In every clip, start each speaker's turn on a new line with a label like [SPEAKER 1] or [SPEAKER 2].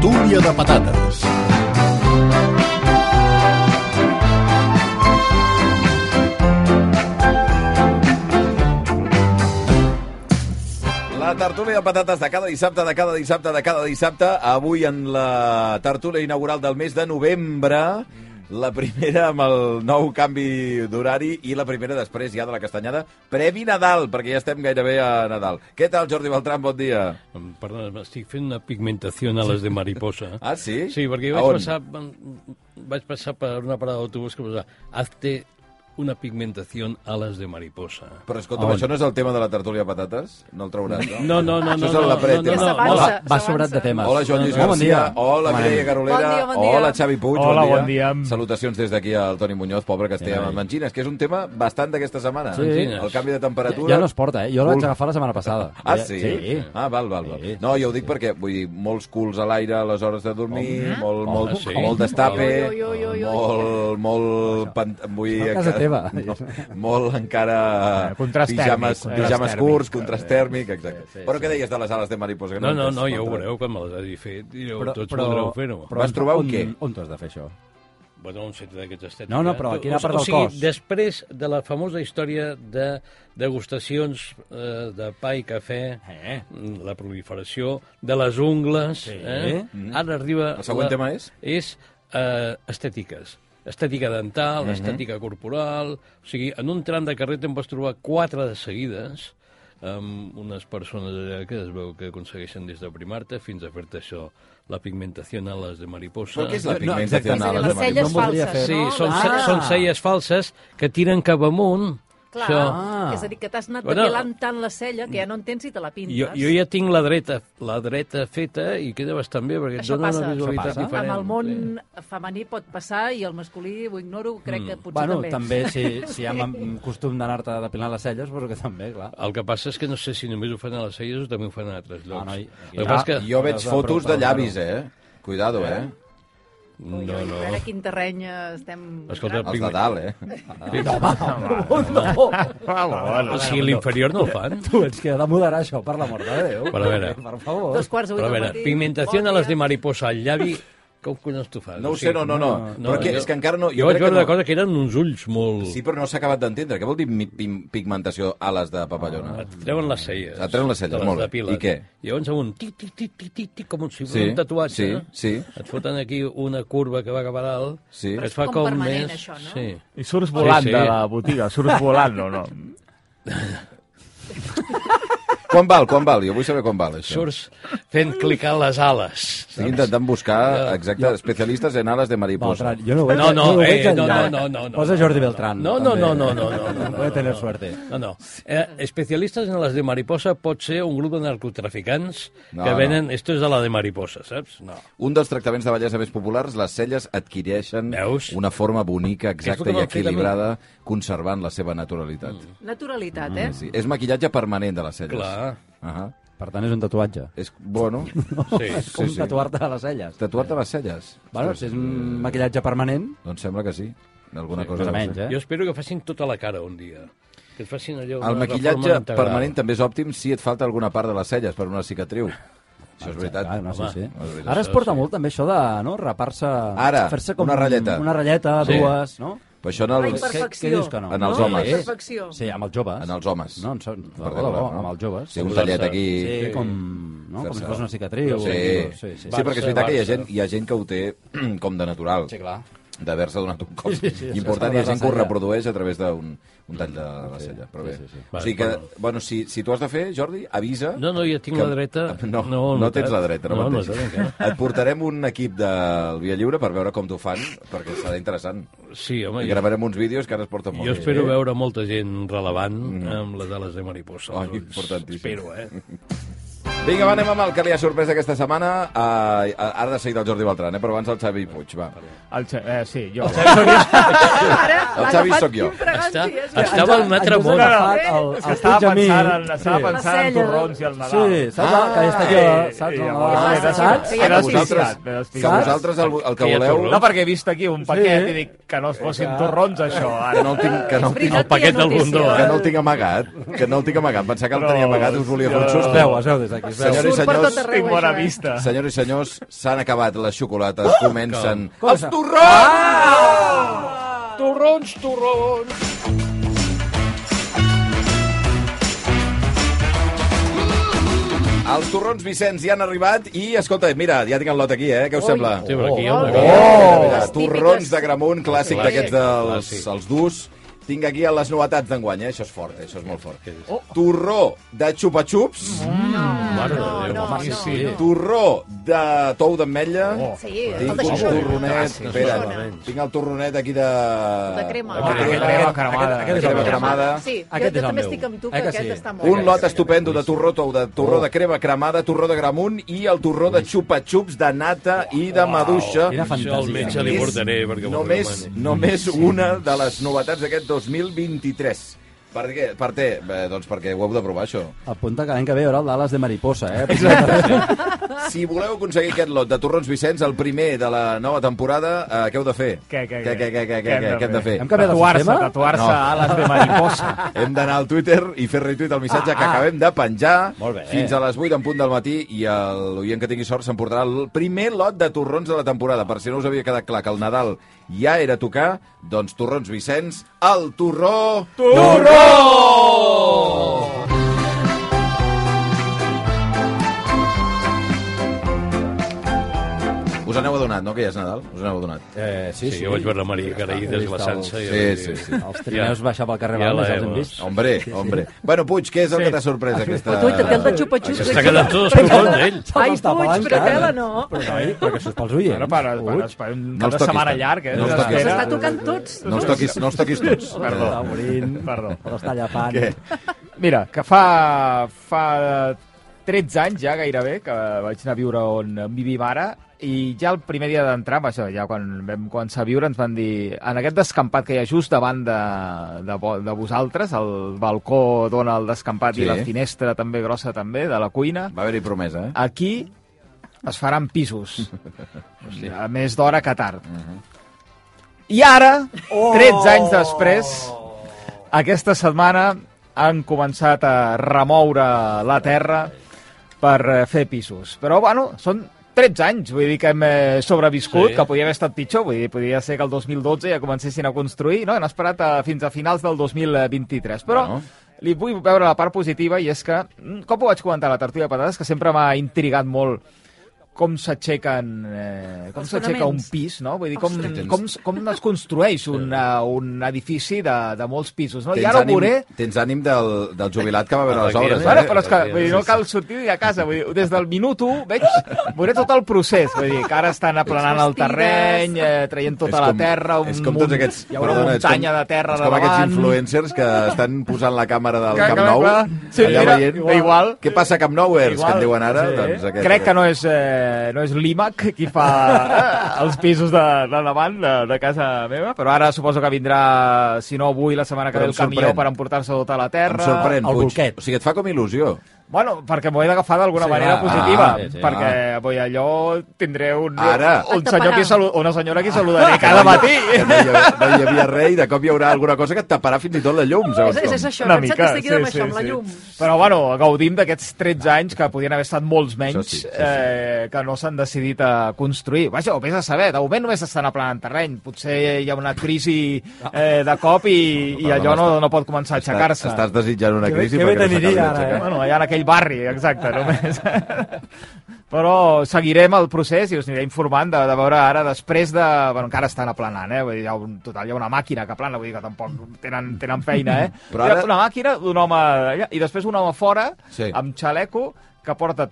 [SPEAKER 1] tortilla de patates.
[SPEAKER 2] La tertúlia de patates de cada dissabte, de cada dissabte, de cada dissabte. Avui en la tertúlia inaugural del mes de novembre, la primera amb el nou canvi d'horari i la primera després ja de la castanyada, previ Nadal, perquè ja estem gairebé a Nadal. Què tal, Jordi Beltrán? Bon dia.
[SPEAKER 3] Em- Perdona, estic fent una pigmentació a les de mariposa.
[SPEAKER 2] Ah, sí?
[SPEAKER 3] Sí, perquè
[SPEAKER 2] A
[SPEAKER 3] vaig
[SPEAKER 2] on?
[SPEAKER 3] passar, vaig passar per una parada d'autobús que posava hazte una pigmentació a les de mariposa.
[SPEAKER 2] Però escolta'm,
[SPEAKER 4] On?
[SPEAKER 2] això no és el tema de la tertúlia de patates? No el trauràs, no?
[SPEAKER 3] No, no, no,
[SPEAKER 2] Això
[SPEAKER 3] no,
[SPEAKER 2] és el
[SPEAKER 3] no,
[SPEAKER 2] lapret,
[SPEAKER 3] no,
[SPEAKER 2] eh?
[SPEAKER 3] no,
[SPEAKER 5] S'avança,
[SPEAKER 3] no.
[SPEAKER 4] Hola, va
[SPEAKER 5] s'avança.
[SPEAKER 4] sobrat de temes.
[SPEAKER 2] Hola, Joan Lluís
[SPEAKER 4] Bon
[SPEAKER 2] Garcia.
[SPEAKER 4] dia.
[SPEAKER 2] Hola,
[SPEAKER 4] Com
[SPEAKER 2] Mireia
[SPEAKER 4] anem?
[SPEAKER 2] Garolera.
[SPEAKER 5] Bon dia, bon dia.
[SPEAKER 2] Hola, Xavi Puig.
[SPEAKER 6] Hola,
[SPEAKER 2] bon dia.
[SPEAKER 6] bon dia.
[SPEAKER 2] Salutacions des d'aquí al Toni Muñoz, pobre que estem amb angines, que és un tema bastant d'aquesta setmana.
[SPEAKER 4] Sí.
[SPEAKER 2] El canvi de temperatura...
[SPEAKER 4] Ja, ja no es porta, eh? Jo la vaig
[SPEAKER 2] Cul.
[SPEAKER 4] agafar la setmana passada.
[SPEAKER 2] Ah,
[SPEAKER 4] Ja-
[SPEAKER 2] sí?
[SPEAKER 4] Sí.
[SPEAKER 2] Ah, val, val, val.
[SPEAKER 4] Sí,
[SPEAKER 2] No, jo ho dic perquè, vull dir, molts culs a l'aire a les hores de dormir, molt, molt,
[SPEAKER 3] Ah, sí?
[SPEAKER 2] molt destape,
[SPEAKER 5] Ui, ui, ui, ui, ui.
[SPEAKER 2] molt, molt... Pan, vull dir,
[SPEAKER 4] Això a casa
[SPEAKER 2] encara-
[SPEAKER 4] teva.
[SPEAKER 2] No, molt encara...
[SPEAKER 6] Eh, contrast
[SPEAKER 2] pijames,
[SPEAKER 6] tèrmic, contrast
[SPEAKER 2] Pijames
[SPEAKER 6] tèrmic.
[SPEAKER 2] curts, contrast tèrmic, exacte. Però què deies de les ales de mariposa? que
[SPEAKER 3] No, no,
[SPEAKER 2] he entès?
[SPEAKER 3] no, ja ho veureu quan me les hagi fet. Direu,
[SPEAKER 4] Però-
[SPEAKER 3] tots
[SPEAKER 4] però-
[SPEAKER 3] voldreu fer-ho.
[SPEAKER 2] Vas
[SPEAKER 4] on-
[SPEAKER 2] trobar un
[SPEAKER 4] on-
[SPEAKER 2] què?
[SPEAKER 4] On t'ho has de fer, això?
[SPEAKER 3] Bueno, un centre d'aquests estètics.
[SPEAKER 4] No, no, però
[SPEAKER 3] eh?
[SPEAKER 4] a quina
[SPEAKER 3] O-
[SPEAKER 4] part
[SPEAKER 3] o,
[SPEAKER 4] del
[SPEAKER 3] sigui,
[SPEAKER 4] cos?
[SPEAKER 3] després de la famosa història de degustacions eh, de pa i cafè,
[SPEAKER 4] Eh.
[SPEAKER 3] mm, la proliferació de les ungles,
[SPEAKER 4] Sí.
[SPEAKER 3] eh? ara arriba...
[SPEAKER 2] Mm-hmm. El següent
[SPEAKER 3] la-
[SPEAKER 2] tema és?
[SPEAKER 3] És eh, estètiques. Estètica
[SPEAKER 2] Mm-hmm.
[SPEAKER 3] dental, estètica corporal... O sigui, en un tram de carrer te'n vas trobar quatre de seguides amb unes persones allà que es veu que aconsegueixen des de primar-te fins a fer-te això, la pigmentació en ales de mariposa...
[SPEAKER 2] Però què és la
[SPEAKER 4] No,
[SPEAKER 2] pigmentació
[SPEAKER 4] exacte.
[SPEAKER 2] en ales
[SPEAKER 5] Les
[SPEAKER 2] de eh?
[SPEAKER 5] celles
[SPEAKER 2] mariposa?
[SPEAKER 4] voldria
[SPEAKER 5] falses,
[SPEAKER 3] Sí,
[SPEAKER 5] no?
[SPEAKER 3] són, ah.
[SPEAKER 5] Les celles-
[SPEAKER 3] són celles falses que tiren cap amunt.
[SPEAKER 5] Clar,
[SPEAKER 3] Això.
[SPEAKER 4] Ah.
[SPEAKER 5] és a dir, que t'has anat
[SPEAKER 3] Bueno.
[SPEAKER 5] bueno, tant la cella que ja no entens i te la pintes.
[SPEAKER 3] Jo, jo ja tinc la dreta, la dreta feta i queda bastant bé perquè et
[SPEAKER 5] Això
[SPEAKER 3] dona
[SPEAKER 5] passa.
[SPEAKER 3] una
[SPEAKER 5] Això
[SPEAKER 3] visualitat
[SPEAKER 4] passa.
[SPEAKER 3] diferent. Eh,
[SPEAKER 5] Amb el món
[SPEAKER 3] Sí. Mm.
[SPEAKER 5] femení pot passar i el masculí ho ignoro, crec que potser
[SPEAKER 4] Bueno,
[SPEAKER 5] també.
[SPEAKER 4] també, si, si hi ha un costum d'anar-te depilant les celles, però que també, clar.
[SPEAKER 3] El que passa és que no sé si només ho fan a les celles o també ho fan a altres llocs.
[SPEAKER 4] Ah, noi,
[SPEAKER 3] el que
[SPEAKER 4] ja.
[SPEAKER 3] passa és que...
[SPEAKER 2] Jo veig
[SPEAKER 4] Però-
[SPEAKER 2] fotos de
[SPEAKER 4] però-
[SPEAKER 2] llavis, eh? Cuidado, eh?
[SPEAKER 5] Ui, ui,
[SPEAKER 3] No, no.
[SPEAKER 5] A veure quin terreny eh, estem...
[SPEAKER 3] Escolta,
[SPEAKER 5] entrant.
[SPEAKER 2] Els de dalt, eh? Ah,
[SPEAKER 3] O sigui, l'inferior no el fan.
[SPEAKER 4] Tu ets que ha de moderar això, per l'amor de Déu. Eh,
[SPEAKER 3] Però a veure.
[SPEAKER 4] Per
[SPEAKER 1] Oh.
[SPEAKER 4] favor.
[SPEAKER 5] Dos quarts de vuit
[SPEAKER 3] Però a
[SPEAKER 5] del
[SPEAKER 3] veure,
[SPEAKER 5] matí.
[SPEAKER 3] pigmentació
[SPEAKER 5] Bon
[SPEAKER 3] a les
[SPEAKER 5] dia.
[SPEAKER 3] de mariposa al llavi, com collons tu fas?
[SPEAKER 2] No ho
[SPEAKER 3] O
[SPEAKER 2] sé,
[SPEAKER 3] sigui,
[SPEAKER 2] no, no, no. Però que,
[SPEAKER 3] jo-
[SPEAKER 2] és que encara no...
[SPEAKER 3] Jo
[SPEAKER 2] crec
[SPEAKER 3] vaig
[SPEAKER 2] que
[SPEAKER 3] veure una
[SPEAKER 2] no.
[SPEAKER 3] cosa que eren uns ulls molt...
[SPEAKER 2] Sí, però no s'ha acabat d'entendre. Què vol dir mi- pim- pigmentació ales de papallona?
[SPEAKER 3] Et treuen les celles.
[SPEAKER 2] Et treuen les celles,
[SPEAKER 3] Te
[SPEAKER 2] molt bé.
[SPEAKER 3] depilen.
[SPEAKER 2] I què?
[SPEAKER 3] Llavors amb un tic, tic, tic, tic, tic, tic com si fos
[SPEAKER 2] Sí,
[SPEAKER 3] un tatuatge.
[SPEAKER 2] sí,
[SPEAKER 3] no?
[SPEAKER 2] sí.
[SPEAKER 3] Et foten aquí una curva que va cap a dalt.
[SPEAKER 2] Sí.
[SPEAKER 3] que
[SPEAKER 2] Però
[SPEAKER 3] et
[SPEAKER 5] és
[SPEAKER 3] fa
[SPEAKER 5] com
[SPEAKER 3] com
[SPEAKER 5] permanent,
[SPEAKER 3] més...
[SPEAKER 5] això, no?
[SPEAKER 3] Sí.
[SPEAKER 6] I surts volant
[SPEAKER 3] Sí,
[SPEAKER 6] sí,
[SPEAKER 3] sí.
[SPEAKER 6] sí. de la botiga, surts volant o no?
[SPEAKER 2] Quan val, quan val? Jo vull saber quan val, això.
[SPEAKER 3] Surts fent clicar les ales.
[SPEAKER 2] Estic intentant buscar, exacte, especialistes en ales de mariposa.
[SPEAKER 4] Beltran, jo no ho veig,
[SPEAKER 3] No, no,
[SPEAKER 4] jo ho
[SPEAKER 3] eh,
[SPEAKER 4] veig
[SPEAKER 3] no,
[SPEAKER 4] enlloc.
[SPEAKER 3] no, no, no,
[SPEAKER 4] Posa
[SPEAKER 3] no,
[SPEAKER 4] Jordi
[SPEAKER 3] no, no.
[SPEAKER 4] Beltrán.
[SPEAKER 3] No, no,
[SPEAKER 4] també.
[SPEAKER 3] no, no, no, no, no,
[SPEAKER 4] Voy a tener
[SPEAKER 3] no.
[SPEAKER 4] suerte.
[SPEAKER 3] No, no. Eh, especialistes en les de mariposa pot ser un grup de narcotraficants
[SPEAKER 2] No,
[SPEAKER 3] que
[SPEAKER 2] no.
[SPEAKER 3] venen... Esto es de la de mariposa, saps? No.
[SPEAKER 2] Un dels tractaments de bellesa més populars, les celles adquireixen
[SPEAKER 3] Veus?
[SPEAKER 2] una forma bonica,
[SPEAKER 3] és el que
[SPEAKER 2] exacta i
[SPEAKER 3] m'han fet a mi.
[SPEAKER 2] equilibrada, conservant la seva naturalitat.
[SPEAKER 5] Mm. Naturalitat,
[SPEAKER 3] Mm,
[SPEAKER 5] eh?
[SPEAKER 2] Sí, és maquillatge permanent de les celles.
[SPEAKER 3] Clar.
[SPEAKER 2] Ahà.
[SPEAKER 4] Per tant, és un tatuatge.
[SPEAKER 2] És, bueno,
[SPEAKER 3] Sí.
[SPEAKER 4] Com
[SPEAKER 2] sí.
[SPEAKER 4] tatuar-te a les celles.
[SPEAKER 2] tatuar-te les celles.
[SPEAKER 4] Bueno, si és un maquillatge permanent,
[SPEAKER 2] Doncs sembla que sí. Alguna sí, cosa
[SPEAKER 4] més o
[SPEAKER 2] deu
[SPEAKER 4] menys,
[SPEAKER 2] ser.
[SPEAKER 4] eh?
[SPEAKER 3] Jo espero que facin tota la cara un dia. Que et facin
[SPEAKER 2] El
[SPEAKER 3] allò... una reforma
[SPEAKER 2] maquillatge
[SPEAKER 3] integral.
[SPEAKER 2] permanent també és òptim si et falta alguna part de les celles per una cicatriu. Això és veritat.
[SPEAKER 4] Ah, no, sí,
[SPEAKER 3] Home,
[SPEAKER 4] sí.
[SPEAKER 2] és veritat,
[SPEAKER 4] Ara es porta molt també això de no, rapar-se...
[SPEAKER 2] Ara,
[SPEAKER 4] fer-se
[SPEAKER 2] una ratlleta.
[SPEAKER 4] Una ratlleta,
[SPEAKER 2] Sí.
[SPEAKER 4] dues, no?
[SPEAKER 2] Però això en
[SPEAKER 5] La
[SPEAKER 2] els...
[SPEAKER 4] imperfecció.
[SPEAKER 5] imperfecció.
[SPEAKER 4] què dius que no?
[SPEAKER 2] En els homes.
[SPEAKER 5] La imperfecció.
[SPEAKER 4] Sí, amb els joves.
[SPEAKER 2] En els homes.
[SPEAKER 4] No, en so... de
[SPEAKER 2] Per
[SPEAKER 4] debò, de debò, amb els joves.
[SPEAKER 2] Sí, un tallet aquí...
[SPEAKER 4] Sí,
[SPEAKER 2] Sí,
[SPEAKER 4] com, no? com si
[SPEAKER 2] Fer-se-
[SPEAKER 4] fos una cicatriu.
[SPEAKER 2] sí, sí, sí, perquè és veritat que hi ha, gent, hi ha gent que ho té com de natural,
[SPEAKER 4] Sí, clar.
[SPEAKER 2] d'haver-se donat un cop
[SPEAKER 4] Sí, sí, sí,
[SPEAKER 2] important,
[SPEAKER 4] sí,
[SPEAKER 2] hi ha
[SPEAKER 4] sí,
[SPEAKER 2] gent que ho
[SPEAKER 4] sí, sí.
[SPEAKER 2] reprodueix a través d'un un tall de la cella. Però bé.
[SPEAKER 4] sí, sí.
[SPEAKER 2] O sigui que, bueno, si, si t'ho has de fer, Jordi, avisa.
[SPEAKER 3] No, no, ja tinc
[SPEAKER 2] que-
[SPEAKER 3] la dreta.
[SPEAKER 2] No, no,
[SPEAKER 3] ho he
[SPEAKER 2] no
[SPEAKER 3] notat.
[SPEAKER 2] tens la dreta. No,
[SPEAKER 3] no, no,
[SPEAKER 2] mateix. Et portarem un equip del Via Lliure per veure com t'ho fan, perquè serà interessant.
[SPEAKER 3] no. Sí, home, jo,
[SPEAKER 2] Gravarem uns vídeos que ara es porten molt
[SPEAKER 3] jo
[SPEAKER 2] bé. eh?
[SPEAKER 3] espero veure molta gent relevant amb les ales de mariposa.
[SPEAKER 2] Ai,
[SPEAKER 3] als ulls.
[SPEAKER 2] importantíssim.
[SPEAKER 3] doncs. Espero, eh?
[SPEAKER 2] Vinga, va, anem amb el que li ha sorprès aquesta setmana. Uh, ara de seguida el Jordi Beltran, eh? però abans el Xavi Puig, va.
[SPEAKER 6] El, Xe- eh, sí, jo.
[SPEAKER 5] Ah, Ara,
[SPEAKER 2] El
[SPEAKER 5] l'ha
[SPEAKER 2] Xavi
[SPEAKER 5] agafat
[SPEAKER 2] sóc jo.
[SPEAKER 3] Està,
[SPEAKER 5] infragància, és que-
[SPEAKER 3] estava en un altre
[SPEAKER 4] Ens
[SPEAKER 3] món.
[SPEAKER 4] has agafat
[SPEAKER 5] Eh,
[SPEAKER 4] el,
[SPEAKER 6] És
[SPEAKER 4] el
[SPEAKER 6] que estava
[SPEAKER 4] Puig a mi.
[SPEAKER 6] pensant, en, estava pensant en
[SPEAKER 5] cella.
[SPEAKER 6] torrons i el Nadal.
[SPEAKER 4] Sí, saps?
[SPEAKER 2] Ah,
[SPEAKER 4] Ah, que està aquí,
[SPEAKER 6] Eh,
[SPEAKER 4] saps?
[SPEAKER 6] i
[SPEAKER 4] Eh,
[SPEAKER 6] llavors
[SPEAKER 5] Ah,
[SPEAKER 6] m'he
[SPEAKER 5] saps?
[SPEAKER 6] despistat,
[SPEAKER 5] Que
[SPEAKER 6] m'he
[SPEAKER 5] ja no
[SPEAKER 6] despistat, m'he
[SPEAKER 2] que
[SPEAKER 6] despistat.
[SPEAKER 2] vosaltres el, el que
[SPEAKER 3] Que hi ha
[SPEAKER 2] voleu...
[SPEAKER 3] torró.
[SPEAKER 6] No, perquè he vist aquí un paquet
[SPEAKER 4] Sí.
[SPEAKER 6] i dic que no es fossin torrons, això.
[SPEAKER 2] Que
[SPEAKER 6] Ara.
[SPEAKER 2] no el tinc, que no el tinc,
[SPEAKER 5] Veritat
[SPEAKER 3] El paquet
[SPEAKER 5] que hi ha
[SPEAKER 3] del bundó, eh?
[SPEAKER 5] notícia.
[SPEAKER 2] que no el tinc amagat, que no el tinc amagat. Pensar que el
[SPEAKER 6] Però-
[SPEAKER 2] tenia amagat, us volia fer un
[SPEAKER 6] Jo-
[SPEAKER 4] Es
[SPEAKER 2] susto.
[SPEAKER 4] veu, es veu des d'aquí.
[SPEAKER 6] es veu.
[SPEAKER 2] Senyores i
[SPEAKER 5] Surt per
[SPEAKER 2] senyors,
[SPEAKER 5] tot arreu,
[SPEAKER 6] tinc bona
[SPEAKER 5] això, eh?
[SPEAKER 6] vista.
[SPEAKER 2] Senyores i senyors, s'han acabat les xocolates, comencen... Els
[SPEAKER 4] Cosa.
[SPEAKER 2] torrons!
[SPEAKER 6] Torrons, torrons!
[SPEAKER 2] Els torrons Vicenç ja han arribat i, escolta, mira, ja tinc el lot aquí, eh? Què us sembla?
[SPEAKER 3] Sí, però aquí hi ha una
[SPEAKER 5] Oh!
[SPEAKER 3] cosa.
[SPEAKER 2] Oh!
[SPEAKER 5] Les típiques.
[SPEAKER 2] Torrons de Gramunt, clàssic
[SPEAKER 3] Clàssic,
[SPEAKER 2] d'aquests dels
[SPEAKER 3] clàssic.
[SPEAKER 2] els durs. Tinc aquí les novetats d'enguany, eh? Això és fort, eh? això és molt fort.
[SPEAKER 5] Oh.
[SPEAKER 2] Torró de xupa-xups,
[SPEAKER 5] Mm.
[SPEAKER 3] Mare de
[SPEAKER 5] No,
[SPEAKER 3] Déu,
[SPEAKER 5] no,
[SPEAKER 3] sí,
[SPEAKER 5] no,
[SPEAKER 3] sí.
[SPEAKER 5] no.
[SPEAKER 2] torró de tou d'ametlla,
[SPEAKER 5] Oh. Sí, tot
[SPEAKER 2] tinc
[SPEAKER 5] això
[SPEAKER 2] un
[SPEAKER 5] és un
[SPEAKER 2] torronet,
[SPEAKER 3] clàssic,
[SPEAKER 2] espera,
[SPEAKER 3] això és un
[SPEAKER 2] tinc el torronet aquí de...
[SPEAKER 5] De crema.
[SPEAKER 2] De
[SPEAKER 5] Ah,
[SPEAKER 2] crema.
[SPEAKER 6] crema cremada.
[SPEAKER 4] Aquest, aquest és el
[SPEAKER 2] Crema
[SPEAKER 4] meu.
[SPEAKER 2] cremada.
[SPEAKER 5] Sí, jo,
[SPEAKER 4] Aquest
[SPEAKER 5] jo
[SPEAKER 4] és el
[SPEAKER 5] també
[SPEAKER 4] meu.
[SPEAKER 5] estic amb tu,
[SPEAKER 4] Eh
[SPEAKER 5] que
[SPEAKER 4] que
[SPEAKER 5] aquest
[SPEAKER 4] sí?
[SPEAKER 5] està molt
[SPEAKER 2] Un
[SPEAKER 5] bé.
[SPEAKER 2] lot estupendo de torró tou, de
[SPEAKER 5] Oh.
[SPEAKER 2] torró de crema cremada, torró de gramunt i el torró de xupa-xups de nata i de maduixa.
[SPEAKER 4] Quina
[SPEAKER 3] Això al
[SPEAKER 4] fantasia.
[SPEAKER 3] metge li
[SPEAKER 2] És
[SPEAKER 3] portaré perquè m'ho
[SPEAKER 2] només,
[SPEAKER 3] recomani.
[SPEAKER 2] només una de les novetats d'aquest 2023. Per què? Per què? Bé, doncs perquè ho heu de provar, això.
[SPEAKER 4] Apunta que l'any que ve hi haurà el d'ales de mariposa, eh? Exacte.
[SPEAKER 2] Si voleu aconseguir aquest lot de torrons Vicenç, el primer de la nova temporada, eh, què heu de fer?
[SPEAKER 6] Què, què,
[SPEAKER 2] què, què, què, què, què, què, què hem de fer?
[SPEAKER 4] Hem canviat el
[SPEAKER 6] Tatuar-se,
[SPEAKER 4] sistema?
[SPEAKER 6] tatuar-se
[SPEAKER 2] No.
[SPEAKER 6] no. ales de mariposa.
[SPEAKER 2] Hem d'anar al Twitter i fer retuit el missatge ah, que acabem de penjar
[SPEAKER 4] Molt bé.
[SPEAKER 2] fins a les 8 en punt del matí i el- l'oient que tingui sort s'emportarà el primer lot de torrons de la temporada. Per si no us havia quedat clar que el Nadal ja era a tocar, doncs torrons Vicenç, el torró... Us aneu adonat, no?, que ja és Nadal? Us aneu adonat?
[SPEAKER 4] Eh,
[SPEAKER 3] Sí, jo vaig veure la Maria Caraïdes i la Sansa. i
[SPEAKER 2] Sí,
[SPEAKER 3] vaig
[SPEAKER 2] sí,
[SPEAKER 3] dir,
[SPEAKER 2] sí.
[SPEAKER 4] Els trineus baixar pel carrer
[SPEAKER 3] Ja
[SPEAKER 4] Balmes,
[SPEAKER 3] la
[SPEAKER 4] els hem
[SPEAKER 3] Eva.
[SPEAKER 4] vist.
[SPEAKER 2] Hombre, hombre. Bueno, Puig, què és el que t'ha sorprès aquesta...
[SPEAKER 5] Però tu, també el de xupa-xups.
[SPEAKER 3] S'està quedant tots els colons, ell.
[SPEAKER 5] Ai, Puig, però tela no.
[SPEAKER 4] Però, noi, però que això és pels oients.
[SPEAKER 6] Bueno, per, per,
[SPEAKER 4] Puig.
[SPEAKER 6] per, per un
[SPEAKER 2] No
[SPEAKER 6] cap
[SPEAKER 2] els
[SPEAKER 6] de
[SPEAKER 2] toquis,
[SPEAKER 6] setmana
[SPEAKER 2] tant.
[SPEAKER 6] llarg, eh?
[SPEAKER 2] No els toquis.
[SPEAKER 5] S'està tocant tots.
[SPEAKER 2] No els toquis, no els toquis tots.
[SPEAKER 6] Perdó.
[SPEAKER 4] Està morint.
[SPEAKER 6] Perdó.
[SPEAKER 4] Se l'està llapant.
[SPEAKER 2] Què?
[SPEAKER 6] Mira, que fa, fa 13 anys ja gairebé que vaig anar a viure on vivim ara i ja el primer dia d'entrar, amb això, ja quan vam començar a viure ens van dir en aquest descampat que hi ha just davant de, de, vo- de vosaltres, el balcó dona el descampat
[SPEAKER 2] Sí.
[SPEAKER 6] sí. i la finestra també grossa també de la cuina,
[SPEAKER 2] Va haver-hi promesa, eh?
[SPEAKER 6] aquí es faran pisos a més d'hora que tard. I ara,
[SPEAKER 3] Oh!
[SPEAKER 6] 13 anys després, aquesta setmana han començat a remoure la terra per eh, fer pisos. Però, bueno, són 13 anys, vull dir que hem eh, sobreviscut,
[SPEAKER 3] Sí.
[SPEAKER 6] sí. que podia haver estat pitjor, vull dir, podia ser que el 2012 ja comencessin a construir, no? Han esperat a, fins a finals del 2023, però...
[SPEAKER 2] Bueno.
[SPEAKER 6] Bueno. Li vull veure la part positiva i és que, mm, com ho vaig comentar a la tertúlia de patates, que sempre m'ha intrigat molt com s'aixequen eh, com
[SPEAKER 5] Els
[SPEAKER 6] s'aixeca un
[SPEAKER 5] fonaments.
[SPEAKER 6] pis, no? Vull dir, com,
[SPEAKER 2] Ostres.
[SPEAKER 6] com, com es construeix un, eh, un edifici de, de molts pisos, no? I
[SPEAKER 2] Tens
[SPEAKER 6] ara ho
[SPEAKER 2] ànim,
[SPEAKER 6] veuré...
[SPEAKER 2] tens ànim del, del jubilat que va veure les
[SPEAKER 3] Aquí,
[SPEAKER 2] obres,
[SPEAKER 3] eh?
[SPEAKER 6] Bueno,
[SPEAKER 2] eh?
[SPEAKER 6] però és que vull dir, no cal sortir de casa. Vull dir, des del minut 1 veig, veuré tot el procés. Vull dir, que ara estan aplanant el terreny, eh, traient tota la terra, un,
[SPEAKER 2] és com tots
[SPEAKER 6] munt-
[SPEAKER 2] aquests,
[SPEAKER 6] hi haurà
[SPEAKER 2] perdona, és com-
[SPEAKER 6] muntanya de terra
[SPEAKER 2] és com
[SPEAKER 6] de
[SPEAKER 2] aquests
[SPEAKER 6] davant.
[SPEAKER 2] influencers que estan posant la càmera del
[SPEAKER 6] Que-
[SPEAKER 2] Camp
[SPEAKER 6] que-
[SPEAKER 2] Nou,
[SPEAKER 6] clar. Sí,
[SPEAKER 2] allà
[SPEAKER 6] mira,
[SPEAKER 2] veient...
[SPEAKER 6] igual. Igual.
[SPEAKER 2] Què passa a Camp Nouers, que en diuen ara?
[SPEAKER 4] Sí.
[SPEAKER 2] Doncs aquest,
[SPEAKER 6] Crec que no és, eh, no és l'IMAC qui fa eh, els pisos de, de davant de, de casa meva, però ara suposo que vindrà, si no avui, la setmana que
[SPEAKER 2] Però em
[SPEAKER 6] ve el camió
[SPEAKER 2] sorprèn.
[SPEAKER 6] per emportar-se tota la
[SPEAKER 2] Em
[SPEAKER 6] terra.
[SPEAKER 2] sorprèn,
[SPEAKER 4] el
[SPEAKER 2] Puig.
[SPEAKER 4] bolquet.
[SPEAKER 2] O sigui, et fa com il·lusió.
[SPEAKER 6] Bueno, perquè m'ho he d'agafar d'alguna
[SPEAKER 4] Sí,
[SPEAKER 6] sí, manera
[SPEAKER 4] va,
[SPEAKER 6] positiva,
[SPEAKER 4] va, sí, sí,
[SPEAKER 6] perquè avui allò tindré un,
[SPEAKER 2] Ara.
[SPEAKER 6] un
[SPEAKER 5] Et
[SPEAKER 6] senyor
[SPEAKER 5] taparà.
[SPEAKER 6] qui salu una senyora que saludaré cada matí.
[SPEAKER 2] Que No hi, havia, no hi havia res i de cop hi haurà alguna cosa que et taparà fins i tot la llum, segons
[SPEAKER 5] És, és, és
[SPEAKER 2] com.
[SPEAKER 5] això, que em sap que estic amb això, amb la llum.
[SPEAKER 6] Però, bueno, gaudim d'aquests 13 anys que podien haver estat molts
[SPEAKER 2] Això
[SPEAKER 6] menys
[SPEAKER 2] sí,
[SPEAKER 6] sí,
[SPEAKER 2] sí, sí.
[SPEAKER 6] sí, Eh, que no s'han decidit a construir. Vaja, ho vés a saber, de moment només estan aplanant terreny. Potser hi ha una crisi eh, de cop i, i allò no, no pot començar a aixecar-se.
[SPEAKER 2] Estàs desitjant una
[SPEAKER 4] Que bé-
[SPEAKER 2] crisi
[SPEAKER 4] que bé
[SPEAKER 2] perquè no s'acabi
[SPEAKER 4] t'aniria ara,
[SPEAKER 2] d'aixecar.
[SPEAKER 4] eh?
[SPEAKER 6] Bueno, allà en aquell barri, exacte, només. Però seguirem el procés i us aniré informant de, de veure ara després de... Bueno, encara estan aplanant, eh? Vull dir, hi ha un, total, hi ha una màquina que plana, vull dir que tampoc tenen, tenen feina, eh?
[SPEAKER 2] Però
[SPEAKER 6] Però ara...
[SPEAKER 2] ara-
[SPEAKER 6] Una màquina, un home allà, i després un home fora,
[SPEAKER 2] Sí.
[SPEAKER 6] sí. amb xaleco, que porta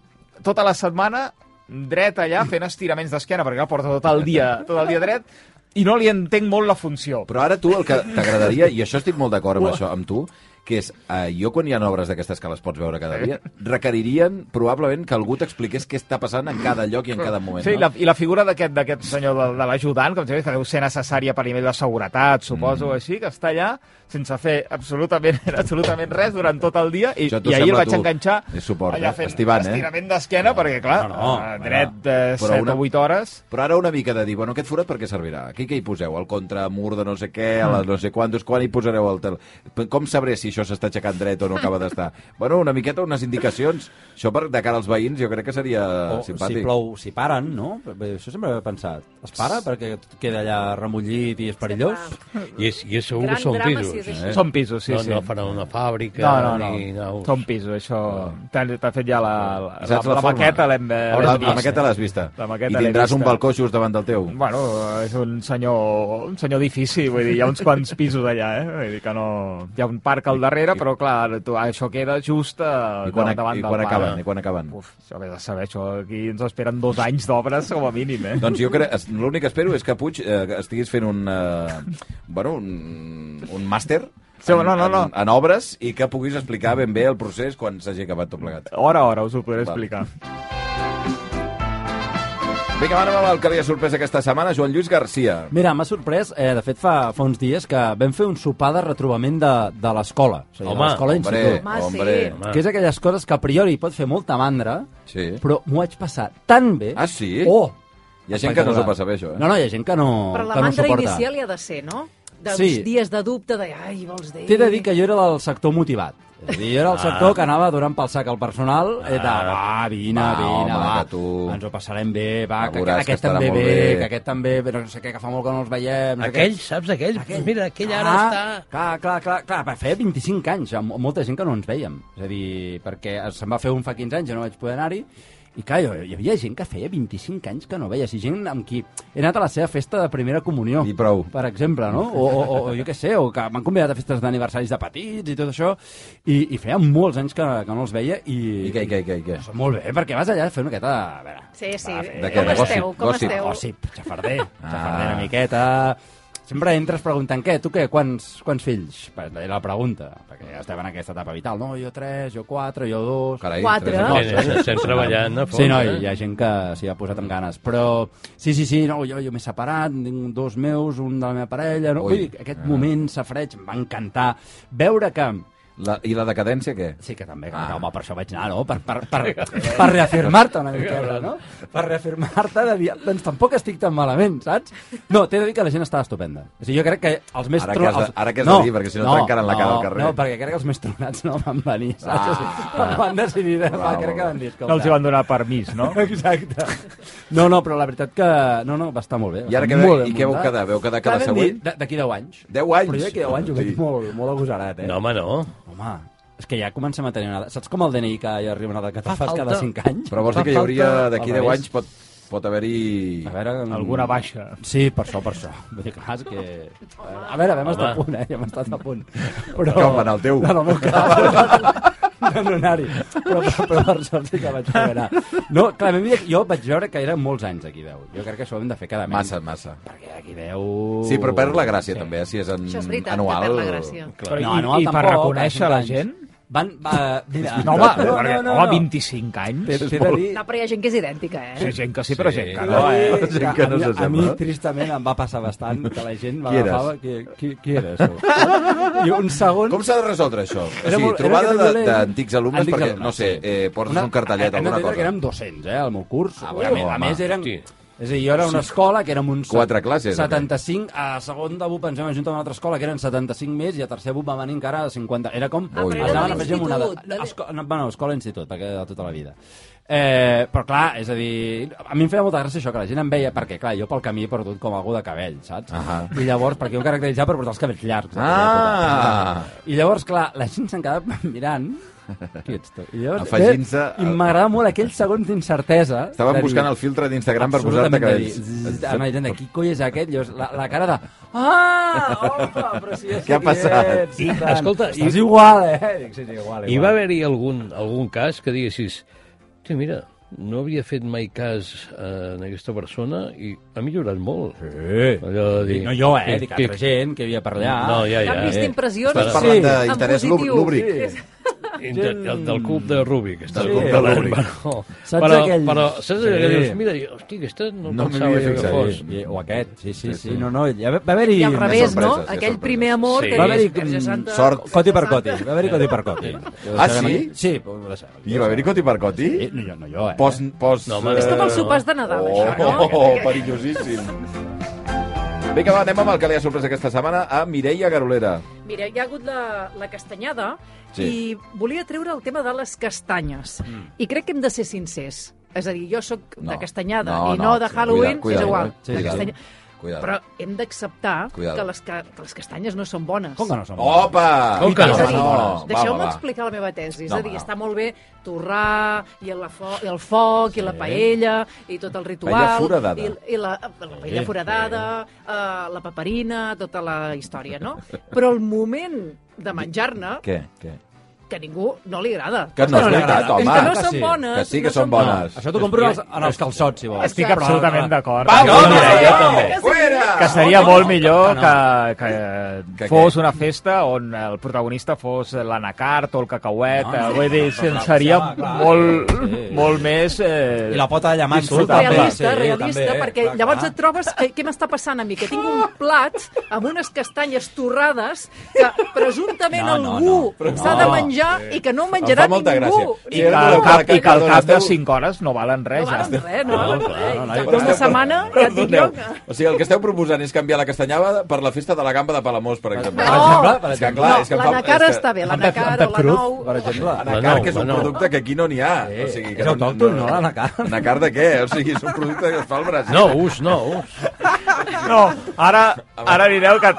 [SPEAKER 6] tota la setmana dret allà fent estiraments d'esquena, perquè el porta tot el dia, tot el dia dret, i no li entenc molt la funció.
[SPEAKER 2] Però ara tu el que t'agradaria, i això estic molt d'acord amb això, amb tu, que és, eh, jo quan hi ha obres d'aquestes que les pots veure cada dia, requeririen probablement que algú t'expliqués què està passant en cada lloc i en cada moment.
[SPEAKER 6] Sí,
[SPEAKER 2] no?
[SPEAKER 6] la, i la figura d'aquest d'aquest senyor de, de l'ajudant, que em sembla que deu ser necessària per nivell de seguretat, suposo, mm. així, que està allà sense fer absolutament, absolutament res durant tot el dia, i,
[SPEAKER 2] Això t'ho
[SPEAKER 6] i ahir el
[SPEAKER 2] sembla
[SPEAKER 6] vaig
[SPEAKER 2] tu,
[SPEAKER 6] enganxar
[SPEAKER 2] és suport, eh?
[SPEAKER 6] allà fent
[SPEAKER 2] Estivant, eh?
[SPEAKER 6] estirament d'esquena, perquè, clar,
[SPEAKER 3] No, no,
[SPEAKER 6] eh, dret de
[SPEAKER 2] Però
[SPEAKER 6] 7
[SPEAKER 2] una-
[SPEAKER 6] o 8 hores...
[SPEAKER 2] Però ara una mica de dir, bueno, aquest forat per què
[SPEAKER 6] Mm.
[SPEAKER 2] servirà? Aquí què hi poseu? El contramur de no sé què, a la no sé quantos, quan hi posareu el tel... Com sabré si això s'està aixecant dret o no acaba d'estar. bueno, una miqueta unes indicacions. Això per de cara als veïns jo crec que seria
[SPEAKER 1] O
[SPEAKER 6] Oh,
[SPEAKER 2] Ah, simpàtic.
[SPEAKER 1] si plou, si paren, no? Bé, Això sempre he pensat. Es para perquè queda allà remullit i és perillós?
[SPEAKER 3] I és, i és segur
[SPEAKER 5] Gran
[SPEAKER 3] que són
[SPEAKER 5] drama,
[SPEAKER 3] pisos.
[SPEAKER 5] si és
[SPEAKER 3] eh?
[SPEAKER 5] així.
[SPEAKER 6] Són pisos, sí,
[SPEAKER 3] no,
[SPEAKER 6] sí.
[SPEAKER 3] no farà una fàbrica
[SPEAKER 6] No, no, no.
[SPEAKER 3] ni naus.
[SPEAKER 6] Són pisos, això... T'ha t'ha fet ja la, la, la,
[SPEAKER 2] Saps la
[SPEAKER 6] la
[SPEAKER 2] forma?
[SPEAKER 6] maqueta, l'hem de...
[SPEAKER 2] La,
[SPEAKER 6] l'hem
[SPEAKER 2] la
[SPEAKER 6] vist.
[SPEAKER 2] maqueta l'has vista.
[SPEAKER 6] La maqueta
[SPEAKER 2] I
[SPEAKER 6] l'he
[SPEAKER 2] tindràs un
[SPEAKER 6] vista.
[SPEAKER 2] balcó just davant del teu.
[SPEAKER 6] Bueno, és un senyor, un senyor edifici, vull dir, hi ha uns quants pisos allà, eh? Vull dir que no... Hi ha un parc al darrere, però clar, tu, això queda just eh,
[SPEAKER 2] I quan, ac-
[SPEAKER 6] davant
[SPEAKER 2] i
[SPEAKER 6] del
[SPEAKER 2] quan
[SPEAKER 6] parc.
[SPEAKER 2] acaben? I quan acaben?
[SPEAKER 6] Uf, això vés a saber, això aquí ens esperen dos anys d'obres com a mínim, eh?
[SPEAKER 2] Doncs jo crec... es- L'únic que espero és que Puig eh, que estiguis fent un... Eh, bueno, un, un màster
[SPEAKER 6] Sí, no, no, no.
[SPEAKER 2] En, en obres i que puguis explicar ben bé el procés quan s'hagi acabat tot plegat.
[SPEAKER 6] Hora a hora us ho podré
[SPEAKER 2] Val.
[SPEAKER 6] explicar.
[SPEAKER 2] Vinga, va, anem amb el que havia sorprès aquesta setmana, Joan Lluís Garcia.
[SPEAKER 1] Mira, m'ha sorprès, eh, de fet fa, fa uns dies que vam fer un sopar de retrobament de, de l'escola. O sigui,
[SPEAKER 3] Home,
[SPEAKER 1] de l'escola
[SPEAKER 2] Hombre,
[SPEAKER 1] d'institut.
[SPEAKER 5] Home, sí.
[SPEAKER 2] hombre.
[SPEAKER 3] Home.
[SPEAKER 1] Que és aquelles coses que a priori pot fer molta mandra,
[SPEAKER 2] Sí.
[SPEAKER 1] però m'ho vaig passar tan bé...
[SPEAKER 2] Ah, sí?
[SPEAKER 1] Oh!
[SPEAKER 2] Hi ha gent que no s'ho
[SPEAKER 1] espectacular.
[SPEAKER 2] passa bé, això, eh?
[SPEAKER 1] No, no, hi ha gent que no,
[SPEAKER 5] Però la
[SPEAKER 1] que no
[SPEAKER 5] mandra
[SPEAKER 1] suporta.
[SPEAKER 5] inicial hi ha de ser, no? Dels
[SPEAKER 1] Sí.
[SPEAKER 5] dies de dubte, de... Ai, vols dir...
[SPEAKER 1] T'he de dir que jo era del sector motivat. És a dir, jo era el
[SPEAKER 2] Ah.
[SPEAKER 1] sector que anava donant pel sac al personal eh, de, va, vine,
[SPEAKER 2] Va,
[SPEAKER 1] vine,
[SPEAKER 2] home,
[SPEAKER 1] va,
[SPEAKER 2] que tu-
[SPEAKER 1] ens ho passarem bé, va,
[SPEAKER 2] Ja veuràs
[SPEAKER 1] que, aquest,
[SPEAKER 2] que
[SPEAKER 1] aquest
[SPEAKER 2] estarà
[SPEAKER 1] també
[SPEAKER 2] molt
[SPEAKER 1] bé,
[SPEAKER 2] bé.
[SPEAKER 1] que aquest també, bé, no sé què, que fa molt que no els veiem... No sé què.
[SPEAKER 3] Aquell, saps, aquell? aquell? Mira, aquell ara
[SPEAKER 1] Ah,
[SPEAKER 3] està...
[SPEAKER 1] Clar, clar, clar, clar, va, feia 25 anys, amb molta gent que no ens veiem. És a dir, perquè se'm va fer un fa 15 anys, jo no vaig poder anar-hi, i clar, jo- hi havia gent que feia 25 anys que no veies, i gent amb qui he anat a la seva festa de primera comunió.
[SPEAKER 2] I prou.
[SPEAKER 1] Per exemple, no? O, o, o jo què sé, o que m'han convidat a festes d'aniversaris de petits i tot això, i, i feia molts anys que, que no els veia, i... Doncs
[SPEAKER 2] I què, i què, i què? I què?
[SPEAKER 1] Molt bé, perquè vas allà a fer una miqueta... A veure,
[SPEAKER 5] Sí, sí.
[SPEAKER 1] va, fer-
[SPEAKER 2] Ah, De què?
[SPEAKER 5] Com
[SPEAKER 2] De gossip,
[SPEAKER 5] esteu? Com
[SPEAKER 2] gossip.
[SPEAKER 5] esteu?
[SPEAKER 1] Gossip, Oh, xafarder,
[SPEAKER 2] Ah.
[SPEAKER 1] xafarder una miqueta... Sempre entres preguntant, què, tu què, quants, quants fills? Era la pregunta, perquè ja estem en aquesta etapa vital. No, jo tres, jo quatre, jo dos...
[SPEAKER 2] Carai,
[SPEAKER 5] Quatre.
[SPEAKER 2] tres eh? anys.
[SPEAKER 3] No, estem treballant a fons.
[SPEAKER 1] Sí, noi,
[SPEAKER 3] eh?
[SPEAKER 1] hi ha gent que s'hi ha posat amb ganes. Però sí, sí, sí, no, jo, jo m'he separat, tinc dos meus, un de la meva parella... No?
[SPEAKER 2] Ui.
[SPEAKER 1] Vull dir, aquest moment safreig em va encantar. Veure que...
[SPEAKER 2] La, I la decadència, què?
[SPEAKER 1] Sí, que també,
[SPEAKER 2] Ah.
[SPEAKER 1] ah. home, per això vaig anar, no? Per, per, per, per reafirmar-te una miqueta, no? Per reafirmar-te de dir, doncs tampoc estic tan malament, saps? No, t'he de dir que la gent estava estupenda. O sigui, jo crec que els més...
[SPEAKER 2] Ara
[SPEAKER 1] tro-
[SPEAKER 2] que has de-
[SPEAKER 1] els-
[SPEAKER 2] ara que has de dir, perquè si no trencaran la cara al carrer.
[SPEAKER 1] No, perquè crec que els més tronats no van venir, saps?
[SPEAKER 2] Ah.
[SPEAKER 1] Ah. Van decidir, de,
[SPEAKER 2] Val,
[SPEAKER 1] va, crec que
[SPEAKER 2] val.
[SPEAKER 1] van dir, escolta...
[SPEAKER 6] No els hi van donar permís, no?
[SPEAKER 1] Exacte. No, no, però la veritat que... No, no, va estar molt bé.
[SPEAKER 2] I
[SPEAKER 1] va
[SPEAKER 2] ara
[SPEAKER 1] estar
[SPEAKER 2] què ve-
[SPEAKER 1] molt ben
[SPEAKER 2] i què vau
[SPEAKER 1] muntat.
[SPEAKER 2] quedar? Vau quedar que la
[SPEAKER 1] Clar, vam
[SPEAKER 2] següent?
[SPEAKER 1] dir, d- D'aquí 10 anys.
[SPEAKER 2] 10 anys?
[SPEAKER 1] Però jo d'aquí 10 anys ho veig
[SPEAKER 2] Sí.
[SPEAKER 1] molt, molt agosarat, eh?
[SPEAKER 3] No, home, no.
[SPEAKER 1] Home, és que ja comencem a tenir una... Saps com el DNI que ja arriba una edat que te'l
[SPEAKER 3] Fa
[SPEAKER 1] fas cada
[SPEAKER 3] falta.
[SPEAKER 1] 5 anys?
[SPEAKER 2] Però vols
[SPEAKER 1] Fa
[SPEAKER 2] dir que hi hauria,
[SPEAKER 1] falta-
[SPEAKER 2] d'aquí 10
[SPEAKER 1] al revés.
[SPEAKER 2] anys, pot, pot haver-hi...
[SPEAKER 1] A veure... mm,
[SPEAKER 6] Alguna baixa.
[SPEAKER 1] Sí, per això, per això. Vull dir, clar, és que... A veure, vam estar a punt, eh? Vam estar a punt. Però...
[SPEAKER 2] Com va anar el teu?
[SPEAKER 1] No, no, el meu cas. No, no, anar-hi. Però, però, però per sort sí que vaig poder anar. No, clar, a mi jo vaig veure que eren molts anys aquí 10. Jo crec que això ho hem de fer cada mes.
[SPEAKER 2] Massa, massa.
[SPEAKER 1] Perquè aquí 10...
[SPEAKER 2] Sí, però perd la gràcia, també, eh, si és en,
[SPEAKER 5] Això és veritat,
[SPEAKER 2] anual.
[SPEAKER 5] que perd la gràcia.
[SPEAKER 6] Però
[SPEAKER 1] No,
[SPEAKER 6] i-
[SPEAKER 1] anual
[SPEAKER 6] i per
[SPEAKER 1] tampoc,
[SPEAKER 6] reconèixer la
[SPEAKER 1] 25
[SPEAKER 6] gent?
[SPEAKER 1] anys. Van, va, mira,
[SPEAKER 6] No, home, no, perquè, no, no, home 25 anys.
[SPEAKER 1] T'he t'he de dir...
[SPEAKER 5] No, però hi ha gent que és idèntica,
[SPEAKER 6] Sí,
[SPEAKER 5] eh?
[SPEAKER 6] gent que sí, però
[SPEAKER 3] Sí.
[SPEAKER 6] gent que no,
[SPEAKER 1] Ai,
[SPEAKER 6] eh?
[SPEAKER 2] Gent que no eh?
[SPEAKER 1] a, mi, a mi,
[SPEAKER 2] s'assembla.
[SPEAKER 1] tristament, em va passar bastant que la gent
[SPEAKER 2] Qui eres?
[SPEAKER 1] m'agafava... Qui, qui, qui eres? tu? I un segon...
[SPEAKER 2] Com s'ha de resoldre això? O sigui,
[SPEAKER 1] molt-
[SPEAKER 2] trobada
[SPEAKER 1] era
[SPEAKER 2] de-
[SPEAKER 1] dolent.
[SPEAKER 2] d'antics alumnes,
[SPEAKER 1] Antics
[SPEAKER 2] perquè,
[SPEAKER 1] alumnes,
[SPEAKER 2] no sé,
[SPEAKER 1] sí.
[SPEAKER 2] eh, portes un cartellet,
[SPEAKER 1] hem
[SPEAKER 2] alguna
[SPEAKER 1] d'entendre
[SPEAKER 2] cosa.
[SPEAKER 1] que érem 200, eh, al meu curs.
[SPEAKER 2] Ah,
[SPEAKER 1] Ah,
[SPEAKER 2] bueno,
[SPEAKER 1] a, més,
[SPEAKER 2] home.
[SPEAKER 1] a més, eren...
[SPEAKER 3] Hosti.
[SPEAKER 1] És a dir, jo era una escola que érem uns... set-
[SPEAKER 2] Quatre classes,
[SPEAKER 1] 75, a segon de BUP ens vam ajuntar a una altra escola que eren 75 més i a tercer BUP va venir encara 50. Era com...
[SPEAKER 2] Ah, però era
[SPEAKER 1] es
[SPEAKER 2] de
[SPEAKER 1] anaven afegint una...
[SPEAKER 5] l'institut, de l'in-
[SPEAKER 1] Esco... No, bueno, escola-institut, perquè de tota la vida. Eh, però clar, és a dir, a mi em feia molta gràcia això, que la gent em veia, perquè clar, jo pel camí he perdut com algú de cabell, saps?
[SPEAKER 2] Ahà.
[SPEAKER 1] I lèvors, perquè jo em caracteritzava per portar els cabells llargs. eh, tota
[SPEAKER 2] Ah!
[SPEAKER 1] I llavors, clar, la gent se'n quedava mirant. Qui ets tu? I llavors,
[SPEAKER 2] Afegint-se
[SPEAKER 1] eh, I
[SPEAKER 2] al-
[SPEAKER 1] m'agrada molt aquells segons d'incertesa.
[SPEAKER 2] Estaven buscant el filtre d'Instagram per posar-te cabells.
[SPEAKER 1] Analitzant de qui coi és aquest, llavors la, la cara de... Ah, home, però si és
[SPEAKER 2] Què ha passat?
[SPEAKER 1] I, tant.
[SPEAKER 3] escolta, i-
[SPEAKER 1] Estàs igual, eh? Dic, sí, sí, igual, igual.
[SPEAKER 3] Hi va haver-hi algun, algun cas que diguessis «Té, mira, no havia fet mai cas eh, en aquesta persona i ha millorat molt».
[SPEAKER 1] Sí.
[SPEAKER 3] Allò de dir...
[SPEAKER 1] No jo, eh? Dic,
[SPEAKER 3] Clic, clic.
[SPEAKER 1] altra gent que havia per allà.
[SPEAKER 3] No, ja, ja.
[SPEAKER 5] Canvis
[SPEAKER 3] eh?
[SPEAKER 5] d'impressions
[SPEAKER 2] Estàs
[SPEAKER 5] en
[SPEAKER 2] parlant
[SPEAKER 1] Doncs Sí.
[SPEAKER 2] d'interès lú-
[SPEAKER 5] positiu.
[SPEAKER 2] lúbric.
[SPEAKER 3] Inter- el del club de Rubik. Està
[SPEAKER 2] Del
[SPEAKER 3] sí,
[SPEAKER 2] club de
[SPEAKER 3] de
[SPEAKER 2] Rubik.
[SPEAKER 3] Rubik. Però,
[SPEAKER 1] Saps
[SPEAKER 3] però,
[SPEAKER 1] aquell-
[SPEAKER 3] però saps allò que
[SPEAKER 1] Sí.
[SPEAKER 3] dius? Mira, jo, hosti, aquesta no,
[SPEAKER 2] No
[SPEAKER 3] pensava
[SPEAKER 2] m'havia
[SPEAKER 3] jo
[SPEAKER 2] fixat.
[SPEAKER 3] que fos.
[SPEAKER 1] Sí, Doncs, o aquest, sí, sí,
[SPEAKER 2] Sí,
[SPEAKER 1] sí,
[SPEAKER 2] sí.
[SPEAKER 1] no, no, hi va va haver-hi...
[SPEAKER 5] I al revés,
[SPEAKER 2] sorpreses,
[SPEAKER 5] no?
[SPEAKER 2] hi ha
[SPEAKER 5] Aquell
[SPEAKER 2] sorpreses.
[SPEAKER 5] primer amor
[SPEAKER 3] Sí.
[SPEAKER 5] que
[SPEAKER 3] Va
[SPEAKER 1] haver-hi,
[SPEAKER 5] dius, Verge Santa...
[SPEAKER 2] sort.
[SPEAKER 1] Coti per coti, va haver-hi coti per coti.
[SPEAKER 2] Ah, sí?
[SPEAKER 1] Sí, però ho deixem.
[SPEAKER 2] I va haver-hi coti per coti?
[SPEAKER 1] Sí, no, jo, no jo, eh?
[SPEAKER 2] Pos, pos...
[SPEAKER 3] No, home,
[SPEAKER 5] És com
[SPEAKER 3] Eh,
[SPEAKER 5] els sopars de Nadal,
[SPEAKER 2] Oh,
[SPEAKER 5] això, no?
[SPEAKER 2] oh, oh, perillosíssim. Vinga, va, anem amb el que li ha sorprès aquesta setmana a Mireia Garolera.
[SPEAKER 5] Mira, hi ha hagut la, la castanyada
[SPEAKER 2] Sí.
[SPEAKER 5] sí. i volia treure el tema de les castanyes. Mm. I crec que hem de ser sincers. És a dir, jo sóc
[SPEAKER 2] No.
[SPEAKER 5] de castanyada
[SPEAKER 2] No,
[SPEAKER 5] i
[SPEAKER 2] no,
[SPEAKER 5] no de
[SPEAKER 2] sí,
[SPEAKER 5] Halloween,
[SPEAKER 2] cuidado, cuidado,
[SPEAKER 5] és igual.
[SPEAKER 1] eh? Sí,
[SPEAKER 5] de
[SPEAKER 1] sí,
[SPEAKER 5] castanya...
[SPEAKER 2] Cuidado.
[SPEAKER 5] Però hem d'acceptar
[SPEAKER 2] Cuidado.
[SPEAKER 5] que les, ca... que les castanyes no són bones.
[SPEAKER 1] Com que no som?
[SPEAKER 2] Opa!
[SPEAKER 3] Com que no?
[SPEAKER 5] És a dir,
[SPEAKER 2] No,
[SPEAKER 5] no,
[SPEAKER 2] va,
[SPEAKER 5] deixeu-me
[SPEAKER 2] va.
[SPEAKER 5] explicar la meva tesi. És
[SPEAKER 2] No,
[SPEAKER 5] a dir,
[SPEAKER 2] home, no.
[SPEAKER 5] està molt bé torrar, i el, fo i el foc, i la paella, i tot el
[SPEAKER 2] Paella
[SPEAKER 5] ritual...
[SPEAKER 2] foradada.
[SPEAKER 5] I, i la, la paella
[SPEAKER 1] Sí,
[SPEAKER 5] foradada, eh, la paperina, tota la història, no? Però el moment de menjar-ne,
[SPEAKER 2] Què? Què?
[SPEAKER 5] que a ningú no li agrada.
[SPEAKER 2] Que no
[SPEAKER 1] no
[SPEAKER 2] és
[SPEAKER 1] li
[SPEAKER 2] veritat,
[SPEAKER 1] agrada.
[SPEAKER 5] és
[SPEAKER 2] home.
[SPEAKER 5] que no
[SPEAKER 1] que
[SPEAKER 5] són
[SPEAKER 1] sí,
[SPEAKER 5] bones.
[SPEAKER 2] que sí que
[SPEAKER 5] no
[SPEAKER 2] són
[SPEAKER 1] No,
[SPEAKER 2] bones.
[SPEAKER 1] això t'ho compro als, en els calçots, si vols.
[SPEAKER 6] Estic absolutament d'acord.
[SPEAKER 2] Pau,
[SPEAKER 6] Estic
[SPEAKER 2] no,
[SPEAKER 6] d'acord.
[SPEAKER 2] Mireia,
[SPEAKER 5] també.
[SPEAKER 2] Fuera!
[SPEAKER 6] que seria
[SPEAKER 1] Ah, no,
[SPEAKER 6] molt
[SPEAKER 1] no,
[SPEAKER 6] millor
[SPEAKER 1] no.
[SPEAKER 6] que, que,
[SPEAKER 2] Que
[SPEAKER 6] que
[SPEAKER 2] què?
[SPEAKER 6] fos una festa on el protagonista fos l'anacart o el cacauet,
[SPEAKER 1] No,
[SPEAKER 6] no,
[SPEAKER 1] no,
[SPEAKER 6] vull dir,
[SPEAKER 1] no, no, no,
[SPEAKER 6] seria
[SPEAKER 1] clar, clar.
[SPEAKER 6] molt,
[SPEAKER 1] Sí.
[SPEAKER 6] molt més... Eh,
[SPEAKER 1] I la pota de llamant surt,
[SPEAKER 6] Disfrutable.
[SPEAKER 1] també.
[SPEAKER 5] realista,
[SPEAKER 1] Sí,
[SPEAKER 5] realista,
[SPEAKER 1] també, eh?
[SPEAKER 5] perquè
[SPEAKER 1] Clar,
[SPEAKER 5] llavors
[SPEAKER 1] clar.
[SPEAKER 5] et trobes que, què m'està passant a mi? Que tinc un plat amb unes castanyes torrades que presumptament
[SPEAKER 1] No, no,
[SPEAKER 5] algú
[SPEAKER 1] no.
[SPEAKER 5] s'ha
[SPEAKER 1] No.
[SPEAKER 5] de menjar i que no
[SPEAKER 2] Em fa
[SPEAKER 5] menjarà
[SPEAKER 2] molta
[SPEAKER 5] ningú.
[SPEAKER 2] gràcia.
[SPEAKER 6] i
[SPEAKER 2] Sí,
[SPEAKER 6] que
[SPEAKER 2] era
[SPEAKER 6] al
[SPEAKER 2] una
[SPEAKER 6] cap,
[SPEAKER 2] cara
[SPEAKER 6] i que al
[SPEAKER 2] que
[SPEAKER 6] cap de
[SPEAKER 2] esteu-
[SPEAKER 6] 5 hores no valen
[SPEAKER 5] No
[SPEAKER 6] res.
[SPEAKER 5] valen
[SPEAKER 6] ja.
[SPEAKER 5] res, no
[SPEAKER 1] No,
[SPEAKER 5] valen
[SPEAKER 1] clar,
[SPEAKER 5] res.
[SPEAKER 1] no, no,
[SPEAKER 5] Cap
[SPEAKER 1] no,
[SPEAKER 5] d'una
[SPEAKER 1] no,
[SPEAKER 5] setmana ja et dic jo
[SPEAKER 2] Perdoneu.
[SPEAKER 5] que...
[SPEAKER 2] O sigui, el que esteu proposant és canviar la castanyada per la festa de la gamba de Palamós, per exemple.
[SPEAKER 5] No.
[SPEAKER 1] per
[SPEAKER 2] És que,
[SPEAKER 1] exemple.
[SPEAKER 2] clar,
[SPEAKER 5] No,
[SPEAKER 2] és que em
[SPEAKER 5] la
[SPEAKER 2] fa-
[SPEAKER 5] nacara
[SPEAKER 2] és que-
[SPEAKER 5] està bé, la
[SPEAKER 1] En Pep- en
[SPEAKER 5] nacara o
[SPEAKER 1] Pep
[SPEAKER 5] la
[SPEAKER 1] Cruz,
[SPEAKER 5] nou...
[SPEAKER 1] per exemple.
[SPEAKER 2] Anacar,
[SPEAKER 3] no,
[SPEAKER 2] que és un
[SPEAKER 3] la no.
[SPEAKER 2] producte que aquí no n'hi ha.
[SPEAKER 1] Sí,
[SPEAKER 2] O sigui,
[SPEAKER 1] és autòcton, no, l'anacar?
[SPEAKER 2] Anacar de què? O sigui, és un producte que es fa al Brasil.
[SPEAKER 3] No, us, no, us.
[SPEAKER 6] No, ara, ara direu que,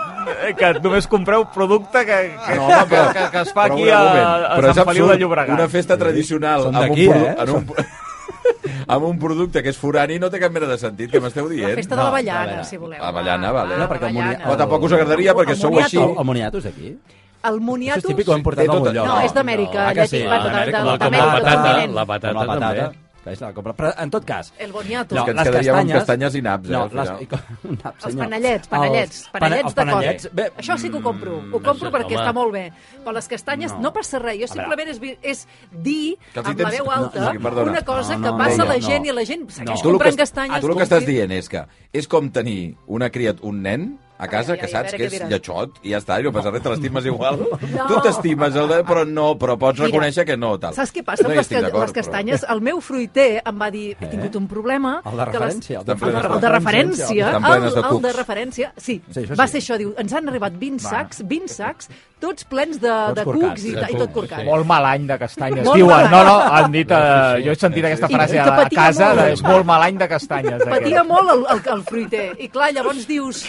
[SPEAKER 6] que només compreu producte que, que,
[SPEAKER 2] No, home, però-
[SPEAKER 6] que, que es fa
[SPEAKER 2] però
[SPEAKER 6] aquí
[SPEAKER 2] un
[SPEAKER 6] a,
[SPEAKER 2] moment.
[SPEAKER 6] a
[SPEAKER 2] Però és
[SPEAKER 6] Sant Feliu
[SPEAKER 2] absurd.
[SPEAKER 6] de Llobregat.
[SPEAKER 2] Una festa tradicional
[SPEAKER 1] Són
[SPEAKER 2] amb un,
[SPEAKER 1] d'aquí,
[SPEAKER 2] produ-
[SPEAKER 1] eh?
[SPEAKER 2] en un, amb un producte que és forani no té cap mena de sentit, que m'esteu
[SPEAKER 5] La
[SPEAKER 2] dient.
[SPEAKER 5] festa de l'avellana,
[SPEAKER 1] l'avellana.
[SPEAKER 5] si voleu.
[SPEAKER 2] Avellana, vale.
[SPEAKER 1] No, perquè el
[SPEAKER 5] l'avellana.
[SPEAKER 1] moniato-
[SPEAKER 2] Però tampoc us agradaria, perquè sou així.
[SPEAKER 1] El, el moniato és d'aquí?
[SPEAKER 5] El
[SPEAKER 1] Això és
[SPEAKER 5] moniato...
[SPEAKER 1] típic, ho hem portat
[SPEAKER 2] Té
[SPEAKER 1] a algun
[SPEAKER 2] tota-
[SPEAKER 1] lloc.
[SPEAKER 5] No, és d'Amèrica,
[SPEAKER 1] Ah, que sí?
[SPEAKER 5] llatí,
[SPEAKER 1] Ah,
[SPEAKER 5] de- de-
[SPEAKER 1] d'Amèrica,
[SPEAKER 3] La,
[SPEAKER 1] la eh?
[SPEAKER 3] com
[SPEAKER 5] d'Amèrica,
[SPEAKER 3] la
[SPEAKER 1] patata,
[SPEAKER 3] patata,
[SPEAKER 5] continent.
[SPEAKER 3] la
[SPEAKER 1] Com
[SPEAKER 3] patata,
[SPEAKER 1] la patata.
[SPEAKER 3] també.
[SPEAKER 1] Que és la compra. Però, en tot cas,
[SPEAKER 5] El boniato.
[SPEAKER 2] No, que ens quedaríem amb castanyes i naps, eh,
[SPEAKER 1] No,
[SPEAKER 2] al
[SPEAKER 1] les,
[SPEAKER 2] final.
[SPEAKER 1] i, com- naps,
[SPEAKER 5] Els
[SPEAKER 1] senyor.
[SPEAKER 5] panellets, panellets,
[SPEAKER 1] Els
[SPEAKER 5] panellets
[SPEAKER 1] els
[SPEAKER 5] de
[SPEAKER 1] panellets,
[SPEAKER 5] colla.
[SPEAKER 1] Bé, mm,
[SPEAKER 5] Això sí que ho compro, ho
[SPEAKER 2] Mm,
[SPEAKER 3] no
[SPEAKER 5] compro
[SPEAKER 3] sé,
[SPEAKER 5] perquè
[SPEAKER 3] home.
[SPEAKER 5] està molt bé. Però les castanyes
[SPEAKER 1] No.
[SPEAKER 5] no, passa res. Jo
[SPEAKER 1] veure.
[SPEAKER 5] simplement és, vi- és dir
[SPEAKER 2] Que els hi
[SPEAKER 5] amb
[SPEAKER 2] tens-
[SPEAKER 5] la veu
[SPEAKER 2] no,
[SPEAKER 5] alta
[SPEAKER 2] sí, perdona.
[SPEAKER 5] una
[SPEAKER 1] No,
[SPEAKER 5] cosa
[SPEAKER 1] no,
[SPEAKER 5] que
[SPEAKER 1] no,
[SPEAKER 5] passa a la
[SPEAKER 1] no.
[SPEAKER 5] gent i la gent segueix
[SPEAKER 2] Tu el
[SPEAKER 1] No.
[SPEAKER 2] que,
[SPEAKER 5] comprant
[SPEAKER 2] es-
[SPEAKER 5] castanyes.
[SPEAKER 2] ah, tu el que estàs
[SPEAKER 5] compri-
[SPEAKER 2] dient és que és com tenir una criat, un nen, a casa,
[SPEAKER 5] Ai, ai,
[SPEAKER 2] que
[SPEAKER 5] ai,
[SPEAKER 2] saps
[SPEAKER 5] a veure
[SPEAKER 2] que
[SPEAKER 5] què
[SPEAKER 2] és
[SPEAKER 5] diràs.
[SPEAKER 2] lletxot, i ja està, i no passa res, te l'estimes igual. Tu t'estimes, el de- però no, però pots
[SPEAKER 5] Mira,
[SPEAKER 2] reconèixer que no, tal.
[SPEAKER 5] Saps què passa
[SPEAKER 2] No
[SPEAKER 5] amb
[SPEAKER 2] hi
[SPEAKER 5] les,
[SPEAKER 2] estic
[SPEAKER 5] ca-
[SPEAKER 2] d'acord,
[SPEAKER 5] les castanyes? El meu fruiter em va dir he tingut un problema...
[SPEAKER 1] Eh? El de
[SPEAKER 5] que les-
[SPEAKER 1] referència, el
[SPEAKER 5] El
[SPEAKER 1] de
[SPEAKER 5] de,
[SPEAKER 2] referència.
[SPEAKER 5] el de referència.
[SPEAKER 2] Estan
[SPEAKER 5] El,
[SPEAKER 2] plenes de
[SPEAKER 5] el de
[SPEAKER 2] cucs.
[SPEAKER 5] referència, sí.
[SPEAKER 1] Sí, això
[SPEAKER 5] Va
[SPEAKER 1] sí.
[SPEAKER 5] ser això, diu. Ens han arribat 20 sacs, 20 sacs, tots plens de, de
[SPEAKER 1] corcats,
[SPEAKER 5] cucs i,
[SPEAKER 1] de
[SPEAKER 5] ta- i
[SPEAKER 3] cucs,
[SPEAKER 5] tot corcat.
[SPEAKER 6] Molt mal any de castanyes.
[SPEAKER 5] Molt
[SPEAKER 6] Diuen,
[SPEAKER 5] mal
[SPEAKER 6] no,
[SPEAKER 5] any.
[SPEAKER 6] no, han dit, eh, jo he sentit aquesta
[SPEAKER 5] I
[SPEAKER 6] frase
[SPEAKER 5] que
[SPEAKER 6] a, a
[SPEAKER 5] patia
[SPEAKER 6] casa,
[SPEAKER 5] molt.
[SPEAKER 6] de, és molt mal any de castanyes. aquest.
[SPEAKER 5] patia molt el, el, el fruiter. I clar, llavors dius,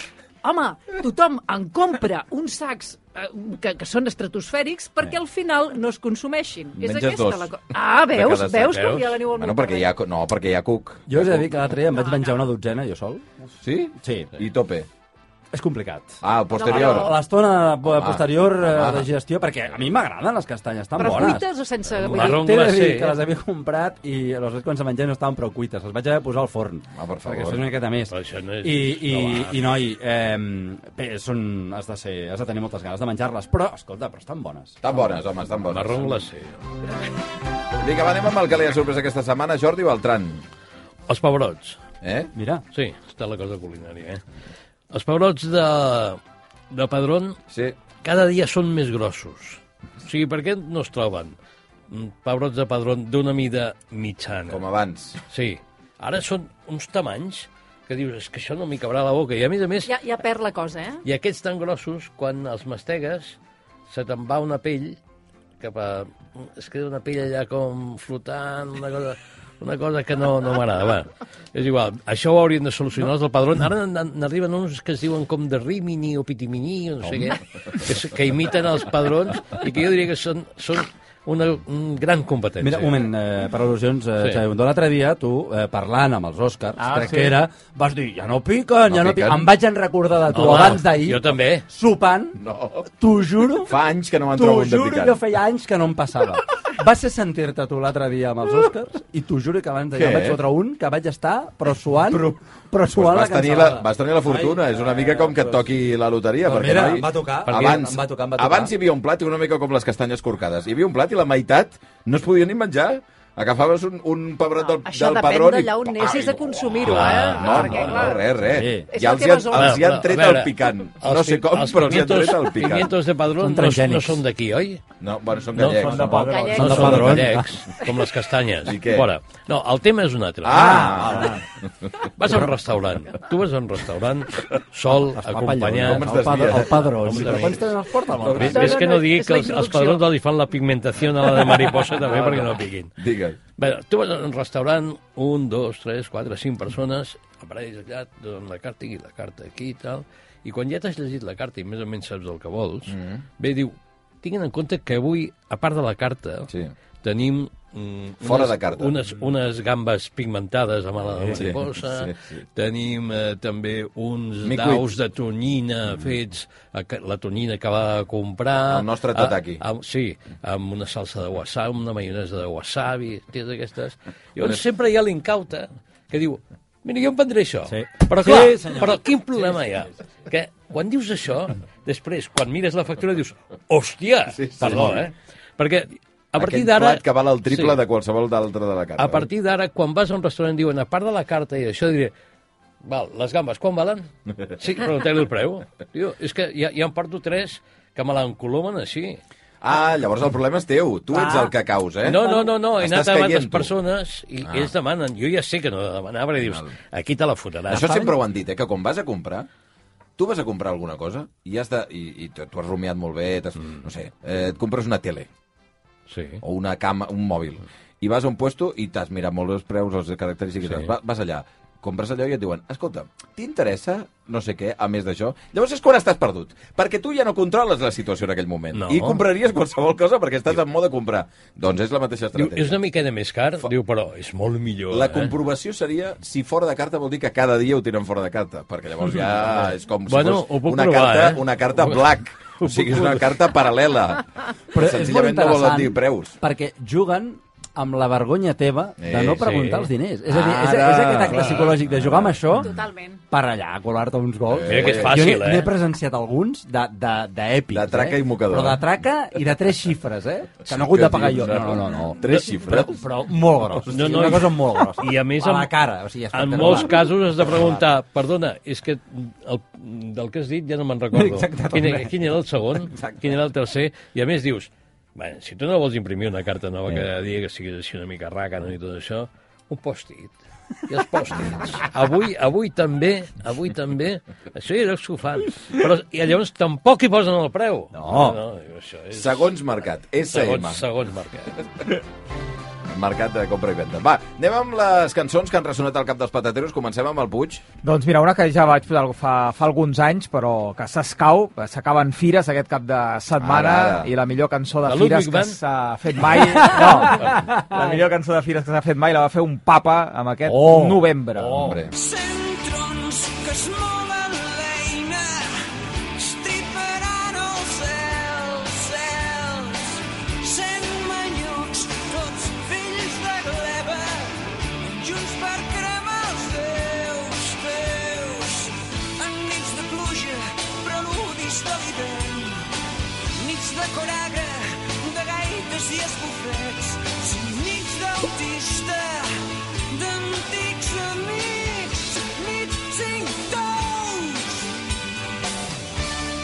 [SPEAKER 5] home, tothom en compra uns sacs eh, que, que són estratosfèrics perquè al final no es consumeixin.
[SPEAKER 2] Eh. Menges
[SPEAKER 5] és aquesta
[SPEAKER 2] dos.
[SPEAKER 5] la cosa. Ah,
[SPEAKER 2] De
[SPEAKER 5] veus?
[SPEAKER 2] cada sac,
[SPEAKER 5] Veus com
[SPEAKER 3] veus?
[SPEAKER 5] ja l'aniu al
[SPEAKER 2] Bueno,
[SPEAKER 5] meu
[SPEAKER 2] perquè hi
[SPEAKER 5] terreny?
[SPEAKER 2] ha, co- no, perquè hi ha cuc.
[SPEAKER 1] Jo us he de dir que l'altre dia em vaig menjar una dotzena, jo sol.
[SPEAKER 2] Sí?
[SPEAKER 1] Sí.
[SPEAKER 2] I tope.
[SPEAKER 1] És complicat.
[SPEAKER 2] Ah, el posterior.
[SPEAKER 5] No,
[SPEAKER 1] A L'estona
[SPEAKER 2] Home.
[SPEAKER 1] po- posterior eh,
[SPEAKER 2] Home.
[SPEAKER 1] de digestió, perquè a mi m'agraden les castanyes, estan
[SPEAKER 5] Però
[SPEAKER 1] bones.
[SPEAKER 5] cuites o sense... vull dir,
[SPEAKER 3] Marró
[SPEAKER 1] T'he de dir
[SPEAKER 3] glacé.
[SPEAKER 1] que les havia comprat i aleshores quan se menjaven no estaven prou cuites. Les vaig haver de posar al forn.
[SPEAKER 2] Ah, per favor.
[SPEAKER 1] Perquè són una miqueta més.
[SPEAKER 3] Però això no és-
[SPEAKER 1] I, i,
[SPEAKER 3] no va.
[SPEAKER 1] i noi, eh, bé, són, has, de ser, has de tenir moltes ganes de menjar-les, però, escolta, però estan bones.
[SPEAKER 2] Estan bones, home, estan bones.
[SPEAKER 3] Marrón glacé.
[SPEAKER 2] Vinga, va, anem amb el que li ha sorprès aquesta setmana, Jordi Beltran.
[SPEAKER 3] Els pebrots.
[SPEAKER 2] Eh?
[SPEAKER 1] Mira,
[SPEAKER 3] Sí, està la cosa culinària, eh? Els pebrots de, de Padrón
[SPEAKER 2] Sí.
[SPEAKER 3] cada dia són més grossos. O sigui, per què no es troben? Mm, Pebrots de Padrón d'una mida mitjana.
[SPEAKER 2] Com abans.
[SPEAKER 3] Sí. Ara són uns tamanys que dius, és que això no m'hi cabrà a la boca. I a més a més,
[SPEAKER 5] Ja, ja perd la cosa, eh?
[SPEAKER 3] i aquests tan grossos, quan els mastegues, se te'n va una pell cap a... Es queda una pell allà com flotant, una cosa, una cosa que no, no m'agrada. Va, és igual. Això ho haurien de solucionar els del Padrón. Ara n- n'arriben uns que es diuen com de Rimini o Pitimini o no sé què, que, s- que imiten els Padrons i que jo diria que són, són una mm, gran competència.
[SPEAKER 1] Mira, un moment, eh, per al·lusions, eh,
[SPEAKER 3] Sí.
[SPEAKER 1] sí. l'altre dia, tu, eh, parlant amb els Oscars,
[SPEAKER 6] Ah,
[SPEAKER 1] crec
[SPEAKER 6] sí.
[SPEAKER 1] que era, vas dir, ja no piquen,
[SPEAKER 2] No
[SPEAKER 1] ja no
[SPEAKER 2] piquen.
[SPEAKER 1] piquen. Em vaig en recordar de tu
[SPEAKER 3] Home,
[SPEAKER 1] abans d'ahir,
[SPEAKER 3] Jo també.
[SPEAKER 1] sopant,
[SPEAKER 2] No.
[SPEAKER 1] t'ho juro,
[SPEAKER 2] Fa anys que no me'n
[SPEAKER 1] t'ho
[SPEAKER 2] trobo un de
[SPEAKER 1] juro,
[SPEAKER 2] picant.
[SPEAKER 1] jo feia anys que no em passava. Va ser sentir-te tu l'altre dia amb els Oscars i t'ho juro que abans d'ahir
[SPEAKER 2] Què?
[SPEAKER 1] em vaig fotre un que vaig estar però suant, però, però
[SPEAKER 2] Pues
[SPEAKER 1] suant
[SPEAKER 2] vas,
[SPEAKER 1] la
[SPEAKER 2] tenir la,
[SPEAKER 1] cansalada.
[SPEAKER 2] vas tenir la fortuna, és una mica com que et toqui la loteria.
[SPEAKER 1] Doncs
[SPEAKER 2] perquè
[SPEAKER 1] mira,
[SPEAKER 2] noi,
[SPEAKER 1] em va tocar, perquè
[SPEAKER 2] Abans,
[SPEAKER 1] em va tocar, em va tocar.
[SPEAKER 2] abans hi havia un plat una mica com les castanyes corcades. Hi havia un plat i la meitat no es podia ni menjar. Agafaves un, un pebrot del,
[SPEAKER 5] Això
[SPEAKER 2] del
[SPEAKER 5] depèn
[SPEAKER 2] padró...
[SPEAKER 5] d'allà on anessis a consumir-ho, eh?
[SPEAKER 2] No,
[SPEAKER 5] Perquè,
[SPEAKER 2] no, no,
[SPEAKER 5] clar,
[SPEAKER 2] res, res.
[SPEAKER 1] Sí.
[SPEAKER 5] És
[SPEAKER 2] Ja
[SPEAKER 5] la
[SPEAKER 2] els hi
[SPEAKER 5] teva
[SPEAKER 2] han,
[SPEAKER 5] zona.
[SPEAKER 2] els hi han
[SPEAKER 3] Però,
[SPEAKER 2] tret
[SPEAKER 3] a
[SPEAKER 2] el
[SPEAKER 3] veure,
[SPEAKER 2] picant.
[SPEAKER 3] els
[SPEAKER 2] No sé
[SPEAKER 3] pi-
[SPEAKER 2] com,
[SPEAKER 3] els
[SPEAKER 2] però els hi han
[SPEAKER 3] pimientos-
[SPEAKER 2] tret el picant.
[SPEAKER 3] pimientos de Padrón
[SPEAKER 1] Són
[SPEAKER 3] no, no
[SPEAKER 1] transgènics.
[SPEAKER 3] són d'aquí, oi?
[SPEAKER 2] No, bueno, són
[SPEAKER 3] No,
[SPEAKER 2] gallecs. Ah,
[SPEAKER 3] són
[SPEAKER 2] no?
[SPEAKER 5] de Padrón.
[SPEAKER 2] Gallecs.
[SPEAKER 3] No
[SPEAKER 1] de
[SPEAKER 3] són
[SPEAKER 1] Padrón.
[SPEAKER 3] gallecs, com les castanyes.
[SPEAKER 2] I què?
[SPEAKER 3] Fora. No, el tema és un altre.
[SPEAKER 2] Ah!
[SPEAKER 3] Vas a un restaurant. Tu vas a un restaurant sol, acompanyat...
[SPEAKER 2] Com ens
[SPEAKER 1] El, padr
[SPEAKER 2] desvies?
[SPEAKER 1] el padró.
[SPEAKER 3] Com ens
[SPEAKER 1] Però quan
[SPEAKER 3] desvies?
[SPEAKER 1] te'n porta amb el
[SPEAKER 3] Ves,
[SPEAKER 1] padró?
[SPEAKER 3] ves que
[SPEAKER 5] No, no,
[SPEAKER 3] no
[SPEAKER 5] no,
[SPEAKER 3] digui
[SPEAKER 5] és
[SPEAKER 3] que
[SPEAKER 5] la
[SPEAKER 3] els, els
[SPEAKER 5] introducció.
[SPEAKER 3] padrons li fan la pigmentació a la de mariposa també perquè no piquin.
[SPEAKER 2] Digue'l.
[SPEAKER 3] Bé, tu vas a un restaurant, un, dos, tres, quatre, cinc persones, aparells allà, et donen la carta i la carta aquí i tal, i quan ja t'has llegit la carta i més o menys saps el que vols, mm -hmm. bé, diu, tinguin en compte que avui, a part de la carta,
[SPEAKER 2] Sí.
[SPEAKER 3] tenim mm,
[SPEAKER 2] Fora
[SPEAKER 3] unes,
[SPEAKER 2] de carta.
[SPEAKER 3] Unes, unes gambes pigmentades amb la de
[SPEAKER 2] Sí,
[SPEAKER 3] mariposa,
[SPEAKER 2] sí,
[SPEAKER 3] sí,
[SPEAKER 2] sí.
[SPEAKER 3] sí, Tenim eh, també uns
[SPEAKER 2] Micuit.
[SPEAKER 3] daus de tonyina fets, a ca- la tonyina que va comprar...
[SPEAKER 2] Mm. El nostre tataki.
[SPEAKER 3] A, amb, sí, amb una salsa de wasabi, una maionesa de wasabi, tens aquestes... Llavors sempre hi ha l'incauta que diu, mira, jo em prendré això.
[SPEAKER 1] Sí.
[SPEAKER 3] Però
[SPEAKER 1] Sí,
[SPEAKER 3] clar,
[SPEAKER 1] senyor.
[SPEAKER 3] però quin problema hi ha? Que quan dius això, després, quan mires la factura, dius, hòstia,
[SPEAKER 2] Sí, sí.
[SPEAKER 3] perdó, eh? Perquè a partir
[SPEAKER 2] Aquell
[SPEAKER 3] d'ara...
[SPEAKER 2] plat que val el triple de qualsevol d'altre de la carta.
[SPEAKER 3] A partir d'ara, quan vas a un restaurant, diuen, a part de la carta i això, diré, val, les gambes, quan valen? Sí, pregunteu-li el preu. Diu, és que ja, ja en porto tres que me l'encolomen així.
[SPEAKER 2] Ah, llavors el problema és teu. Tu ets el que caus, eh?
[SPEAKER 3] Eh? No, no, no, no, he
[SPEAKER 2] Estàs
[SPEAKER 3] anat amb altres
[SPEAKER 2] caient, tu.
[SPEAKER 3] persones i ah. ells demanen. Jo ja sé que no he de demanar, perquè dius, aquí te la fotràs.
[SPEAKER 2] Això sempre ho han dit, eh? Que quan vas a comprar, tu vas a comprar alguna cosa i has de... I, i t'ho t'ho has rumiat molt bé, t'has-
[SPEAKER 3] Mm.
[SPEAKER 2] no sé, eh, et compres una tele
[SPEAKER 3] Sí.
[SPEAKER 2] o una cama, un mòbil,
[SPEAKER 3] Mm.
[SPEAKER 2] i vas a un puesto i t'has mirat molt els preus, els característiques,
[SPEAKER 3] Sí.
[SPEAKER 2] sí. vas, vas allà, compres allò i et diuen, escolta, t'interessa no sé què, a més d'això? Llavors és quan estàs perdut, perquè tu ja no controles la situació en aquell moment.
[SPEAKER 3] No.
[SPEAKER 2] I compraries qualsevol cosa perquè estàs en mode de comprar. Doncs és la mateixa
[SPEAKER 3] Diu,
[SPEAKER 2] estratègia.
[SPEAKER 3] és una miqueta més car, diu, però és molt millor.
[SPEAKER 2] La
[SPEAKER 3] eh?
[SPEAKER 2] comprovació seria si fora de carta vol dir que cada dia ho tiren fora de carta, perquè llavors ja és com si
[SPEAKER 3] Bueno, ho
[SPEAKER 2] fos
[SPEAKER 3] puc
[SPEAKER 2] una,
[SPEAKER 3] provar,
[SPEAKER 2] carta,
[SPEAKER 3] eh?
[SPEAKER 2] una carta black, o sigui, és una carta paral·lela.
[SPEAKER 1] Però és molt
[SPEAKER 2] Senzillament no volen
[SPEAKER 1] interessant
[SPEAKER 2] dir preus.
[SPEAKER 1] Perquè juguen amb la vergonya teva de
[SPEAKER 2] Eh,
[SPEAKER 1] no
[SPEAKER 2] sí.
[SPEAKER 1] preguntar els diners. És a dir, és,
[SPEAKER 2] Ara,
[SPEAKER 1] és aquest acte
[SPEAKER 2] clar.
[SPEAKER 1] psicològic de jugar amb això
[SPEAKER 5] Totalment.
[SPEAKER 1] per allà, colar-te uns gols.
[SPEAKER 2] Mira que és
[SPEAKER 3] fàcil,
[SPEAKER 1] jo n'he-
[SPEAKER 3] eh?
[SPEAKER 1] N'he presenciat alguns d'èpics.
[SPEAKER 2] De traca
[SPEAKER 1] eh?
[SPEAKER 2] i mocador.
[SPEAKER 1] Però de traca i de tres xifres, eh? Que no he hagut de pagar jo. No, no, no. no.
[SPEAKER 2] Tres xifres?
[SPEAKER 1] Però, però molt gros.
[SPEAKER 3] No, no,
[SPEAKER 1] una
[SPEAKER 3] i-
[SPEAKER 1] cosa molt grossa.
[SPEAKER 3] i a més
[SPEAKER 1] a
[SPEAKER 3] amb-
[SPEAKER 1] la cara. O
[SPEAKER 3] En
[SPEAKER 1] sigui, espectacular.
[SPEAKER 3] molts casos has de preguntar, perdona, és que el, del que has dit ja no me'n recordo.
[SPEAKER 1] Exacte,
[SPEAKER 3] quin,
[SPEAKER 1] també.
[SPEAKER 3] quin era el segon? Exacte. Quin era el tercer? I a més dius, bueno, si tu no vols imprimir una carta nova cada dia, que siguis així una mica ràcana i tot això, un post-it. I els pòstits. Avui, avui també, avui també, això ja veus que ho fan. Però i llavors tampoc hi posen el preu.
[SPEAKER 1] No.
[SPEAKER 3] no diu, això és...
[SPEAKER 2] Segons mercat, SM.
[SPEAKER 3] Segons, segons mercat.
[SPEAKER 2] Mercat de compra i venda. Va, anem amb les cançons que han ressonat al cap dels patateros. Comencem amb el Puig.
[SPEAKER 6] Doncs mira, una que ja vaig posar fa, fa alguns anys, però que s'escau, que s'acaben fires aquest cap de setmana,
[SPEAKER 2] Ara, ara.
[SPEAKER 6] i la millor cançó de
[SPEAKER 3] La Ludwig
[SPEAKER 6] fires que
[SPEAKER 3] Band?
[SPEAKER 6] s'ha fet mai... No, la millor cançó de fires que s'ha fet mai la va fer un papa amb aquest
[SPEAKER 1] Oh.
[SPEAKER 6] novembre.
[SPEAKER 3] Oh.
[SPEAKER 2] Hombre.
[SPEAKER 7] Centrons que es molen l'eina, estriparan els cels, cels. Cent manyucs, tots fills de gleba, junts per cremar els déus, déus. En nits de pluja, preludis d'olivent, nits de coraga, de gaites i esbufets, nits d'autista, d'antics amics, nits cinc tous.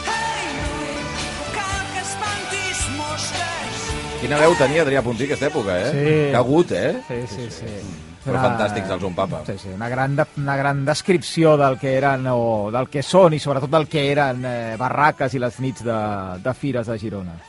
[SPEAKER 7] Ei, Lluís, no cal que espantis mosques.
[SPEAKER 2] Quina veu tenia Adrià Puntí aquesta època, eh?
[SPEAKER 6] Sí.
[SPEAKER 2] Que agut, eh?
[SPEAKER 6] Sí, sí, sí.
[SPEAKER 2] Però fantàstics, els un papa.
[SPEAKER 6] Sí, sí, una gran, de, una gran descripció del que eren o del que són i sobretot del que eren eh, barraques i les nits de, de fires de Girona.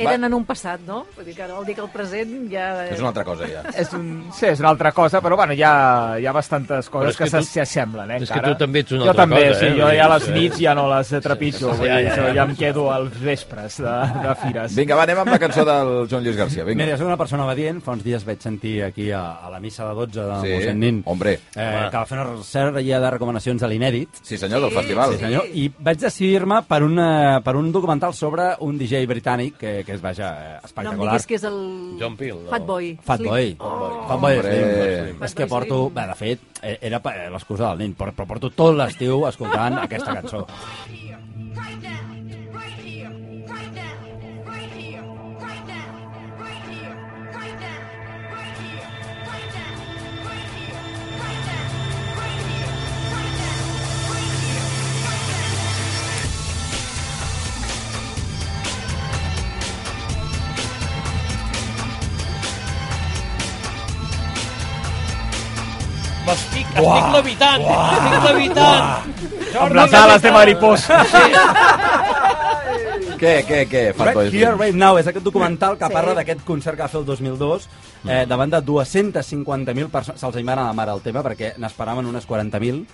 [SPEAKER 5] Eren en un passat, no? Vull dir que ara vol dir que el present ja... eh,
[SPEAKER 2] És una altra cosa, ja.
[SPEAKER 6] És, un, sí, és una altra cosa, però bueno, hi ha, hi ha bastantes
[SPEAKER 3] Però
[SPEAKER 6] coses
[SPEAKER 3] és
[SPEAKER 6] que,
[SPEAKER 3] que tu-
[SPEAKER 6] que s'hi assemblen, eh,
[SPEAKER 3] és que
[SPEAKER 6] encara.
[SPEAKER 3] tu també ets una
[SPEAKER 6] jo
[SPEAKER 3] altra
[SPEAKER 6] també,
[SPEAKER 3] cosa,
[SPEAKER 6] sí,
[SPEAKER 3] eh?
[SPEAKER 6] jo ja
[SPEAKER 3] Vull dir,
[SPEAKER 6] les
[SPEAKER 3] sí.
[SPEAKER 6] nits ja no les trepitjo, vull
[SPEAKER 3] ja,
[SPEAKER 6] dir,
[SPEAKER 3] ja,
[SPEAKER 6] jo
[SPEAKER 3] ja.
[SPEAKER 6] ja em quedo als vespres de, de fires.
[SPEAKER 2] Vinga, va, anem amb la cançó del Joan Lluís Garcia. Vinga.
[SPEAKER 1] Mira, soc una persona obedient. Fa uns dies vaig sentir aquí a, a la missa de 12 de
[SPEAKER 2] Sí,
[SPEAKER 1] mossèn Nin,
[SPEAKER 2] hombre.
[SPEAKER 1] eh, que va fer una sèrie de recomanacions de l'inèdit.
[SPEAKER 2] Sí, senyor, del festival.
[SPEAKER 1] Sí, senyor. I vaig decidir-me per, una, per un documental sobre un DJ britànic que, que és, vaja, eh,
[SPEAKER 5] No em
[SPEAKER 1] espectacular.
[SPEAKER 5] diguis que és el...
[SPEAKER 3] John Peel, no?
[SPEAKER 5] Fat Boy.
[SPEAKER 1] Fatboy.
[SPEAKER 5] Slim. Oh.
[SPEAKER 1] Fatboy
[SPEAKER 2] Hombre.
[SPEAKER 1] Slim. És que
[SPEAKER 5] Fatboy
[SPEAKER 1] porto...
[SPEAKER 5] Slim.
[SPEAKER 1] Bé, de fet, eh, era pa- eh, l'excusa del nen, però, però porto tot l'estiu escoltant aquesta cançó.
[SPEAKER 8] Right now, right here, right now, right here, right now, right here.
[SPEAKER 3] Estic, estic levitant, estic levitant.
[SPEAKER 6] Amb les ales de mariposa.
[SPEAKER 2] Què, què, què, Farto?
[SPEAKER 1] Right Here, Right Now, és aquest documental que parla d'aquest concert que va fer el 2002
[SPEAKER 2] Mm.
[SPEAKER 1] eh, davant de 250.000 persones. Se'ls hi va anar la mare el tema perquè n'esperaven unes 40.000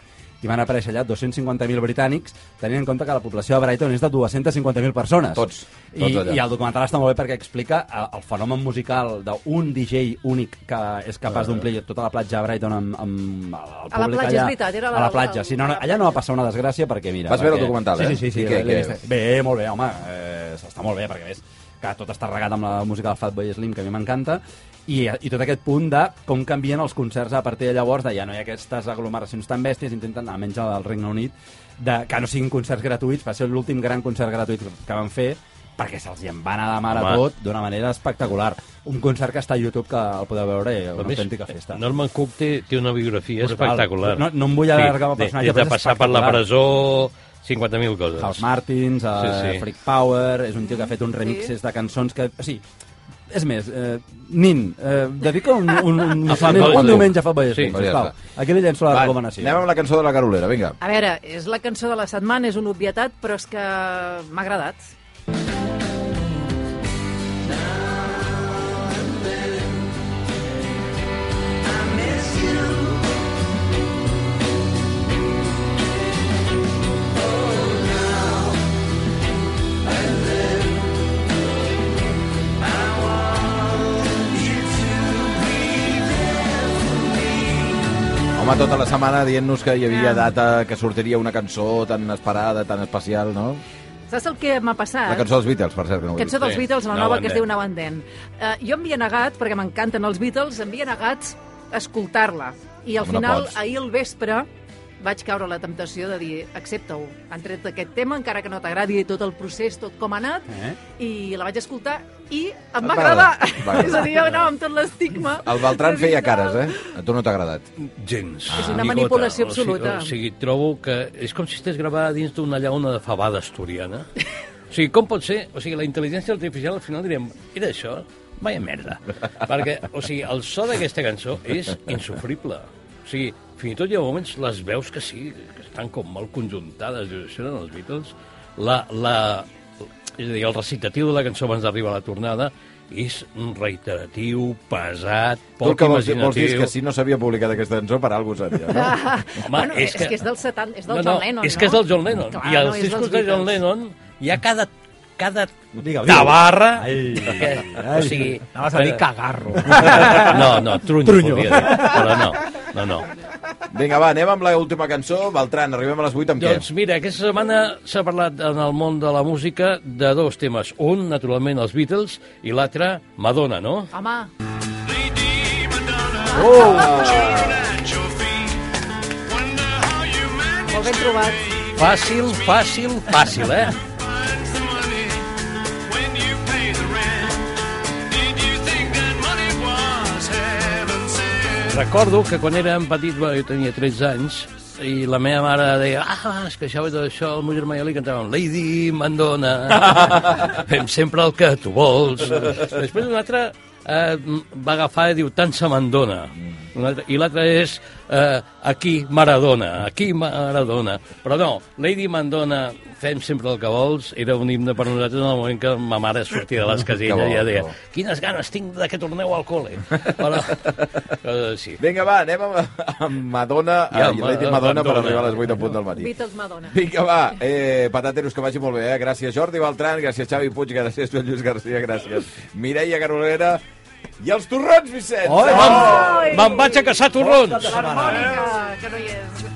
[SPEAKER 1] i van aparèixer allà 250.000 britànics, tenint en compte que la població de Brighton és de 250.000 persones.
[SPEAKER 2] Tots, tots
[SPEAKER 1] I,
[SPEAKER 2] allà.
[SPEAKER 1] I el documental està molt bé perquè explica eh, el fenomen musical d'un DJ únic que és capaç d'omplir tota la platja de Brighton amb, amb el públic
[SPEAKER 5] A la platja,
[SPEAKER 1] allà.
[SPEAKER 5] és veritat, era la-
[SPEAKER 1] a la platja. Sí, no, no, allà no va passar una desgràcia perquè, mira...
[SPEAKER 2] Vas veure el
[SPEAKER 1] perquè-
[SPEAKER 2] documental, eh?
[SPEAKER 1] Sí, sí, sí.
[SPEAKER 2] I
[SPEAKER 1] sí
[SPEAKER 2] què,
[SPEAKER 1] l'he
[SPEAKER 2] què?
[SPEAKER 1] vist. Bé, molt bé, home. Eh, està molt bé, perquè ves que tot està regat amb la música del Fatboy Slim, que a mi m'encanta, i, i tot aquest punt de com canvien els concerts a partir de llavors, de ja no hi ha aquestes aglomeracions tan bèsties, intenten, almenys al Regne Unit, de, que no siguin concerts gratuïts, va ser l'últim gran concert gratuït que van fer, perquè se'ls hi en va anar de mar a
[SPEAKER 3] Home.
[SPEAKER 1] tot d'una manera espectacular. Un concert que està a YouTube, que el podeu veure, i una autèntica
[SPEAKER 3] eh,
[SPEAKER 1] festa.
[SPEAKER 3] Norman Cook té, té una biografia
[SPEAKER 1] Brutal.
[SPEAKER 3] espectacular.
[SPEAKER 1] No- no em vull allargar amb el
[SPEAKER 3] Sí,
[SPEAKER 1] personatge,
[SPEAKER 3] Des
[SPEAKER 1] però
[SPEAKER 3] de
[SPEAKER 1] és
[SPEAKER 3] passar per la
[SPEAKER 1] espectacular.
[SPEAKER 3] presó, 50.000 coses.
[SPEAKER 1] House Martins, eh,
[SPEAKER 3] Sí,
[SPEAKER 1] sí,
[SPEAKER 3] sí.
[SPEAKER 1] sí. Freak Power, és un tio que ha fet uns remixes de cançons que... O sigui, és més, eh, Nin, eh, dedica un, un, un,
[SPEAKER 3] A Fat
[SPEAKER 1] un,
[SPEAKER 3] Boy Slim.
[SPEAKER 1] diumenge a Fat Boy
[SPEAKER 3] Sí,
[SPEAKER 1] Slim,
[SPEAKER 2] ja
[SPEAKER 1] sisplau.
[SPEAKER 2] està.
[SPEAKER 1] Aquí li llenço la
[SPEAKER 2] Va,
[SPEAKER 1] recomanació.
[SPEAKER 2] Anem amb la cançó de la Carolera, vinga.
[SPEAKER 5] A veure, és la cançó de la setmana, és una obvietat, però és que m'ha agradat.
[SPEAKER 2] Home, tota la setmana dient-nos que hi havia data, que sortiria una cançó tan esperada, tan especial, no?
[SPEAKER 5] Saps el que m'ha passat?
[SPEAKER 2] La cançó dels Beatles, per cert, que no ho he
[SPEAKER 5] Cançó
[SPEAKER 2] dit.
[SPEAKER 5] dels
[SPEAKER 3] Sí,
[SPEAKER 5] Beatles, la
[SPEAKER 3] Now
[SPEAKER 5] nova
[SPEAKER 3] and
[SPEAKER 5] que es
[SPEAKER 3] Then.
[SPEAKER 5] diu Now and Then. Uh, jo em havia negat, perquè m'encanten els Beatles, em havia negat escoltar-la. I al
[SPEAKER 2] Home, no
[SPEAKER 5] final,
[SPEAKER 2] pots.
[SPEAKER 5] ahir al vespre, vaig caure a la temptació de dir, accepta-ho. Han tret aquest tema, encara que no t'agradi tot el procés, tot com ha anat, eh? i la vaig escoltar i
[SPEAKER 2] Et
[SPEAKER 5] em
[SPEAKER 2] va
[SPEAKER 5] va
[SPEAKER 2] agradar.
[SPEAKER 5] agradar.
[SPEAKER 2] Et va agradar.
[SPEAKER 5] És a dir, jo anava amb tot l'estigma.
[SPEAKER 2] El Beltran
[SPEAKER 5] de
[SPEAKER 2] feia
[SPEAKER 5] Beatles.
[SPEAKER 2] cares, eh? A tu no t'ha agradat.
[SPEAKER 3] Gens.
[SPEAKER 5] És una manipulació absoluta.
[SPEAKER 3] O sigui, o sigui, trobo que és com si estigués gravada dins d'una llauna de fabada asturiana. O sigui, com pot ser? O sigui, la intel·ligència artificial al final direm, era això? Vaya merda. Perquè, o sigui, el so d'aquesta cançó és insufrible. O sigui, fins i tot hi ha moments les veus que sí, que estan com molt conjuntades, dius, això eren els Beatles. La, la, és a dir, el recitatiu de la cançó abans d'arribar a la tornada és reiteratiu, pesat,
[SPEAKER 2] Tu el
[SPEAKER 3] poc
[SPEAKER 2] que vols, dir-
[SPEAKER 3] imaginatiu.
[SPEAKER 2] vols dir és que si no s'havia publicat aquesta cançó, per alguna cosa seria, no?
[SPEAKER 3] Home,
[SPEAKER 5] bueno, és, que... és del 70, és del John Lennon,
[SPEAKER 3] és que és del John Lennon.
[SPEAKER 5] Clar,
[SPEAKER 3] I els
[SPEAKER 5] no, és
[SPEAKER 3] discos
[SPEAKER 5] dels
[SPEAKER 3] de John
[SPEAKER 5] Beatles.
[SPEAKER 3] Lennon hi ha cada cada
[SPEAKER 1] Digue-ho,
[SPEAKER 3] Ah,
[SPEAKER 1] digue-ho.
[SPEAKER 3] tabarra...
[SPEAKER 1] Ai,
[SPEAKER 3] que,
[SPEAKER 1] ai.
[SPEAKER 3] o sigui... eh,
[SPEAKER 6] Anaves a dir cagarro.
[SPEAKER 3] No, no, trunyo,
[SPEAKER 1] Trunyo.
[SPEAKER 3] volia dir. Però no, no, no.
[SPEAKER 2] Vinga, va, anem amb l'última cançó. Beltran, arribem a les 8 amb què?
[SPEAKER 3] Doncs mira, aquesta setmana s'ha parlat en el món de la música de dos temes. Un, naturalment, els Beatles, i l'altre, Madonna, no?
[SPEAKER 5] Home, molt ben trobat.
[SPEAKER 3] Fàcil, fàcil, fàcil, eh? Recordo que quan érem petits, bueno, jo tenia 13 anys, i la meva mare deia, ah, es queixava de això, el meu germà i jo li cantàvem Lady Mandona, fem sempre el que tu vols. Després un altre eh, va agafar i diu, tant se mandona. Un altre- I l'altre és eh, aquí Maradona, aquí Maradona. Però no, Lady Mandona, fem sempre el que vols, era un himne per nosaltres en el moment que ma mare sortia de les
[SPEAKER 2] Que
[SPEAKER 3] caselles
[SPEAKER 2] bo,
[SPEAKER 3] i ja deia,
[SPEAKER 2] que bo.
[SPEAKER 3] quines ganes tinc de que torneu al col·le. Però, eh, coses així.
[SPEAKER 2] Vinga, va, anem amb, amb Madonna,
[SPEAKER 3] Ja,
[SPEAKER 2] ja, amb, Lady Madonna, per arribar a les 8 en punt del matí.
[SPEAKER 5] Beatles Madonna.
[SPEAKER 2] Vinga, va, eh, patateros, que vagi molt bé, eh? Gràcies Jordi Beltran, gràcies Xavi Puig, gràcies Joan Lluís García, gràcies Mireia Garolera i els torrons, Vicenç!
[SPEAKER 1] Oi!
[SPEAKER 3] Me'n vaig a caçar torrons!
[SPEAKER 5] L'harmònica, que no hi és.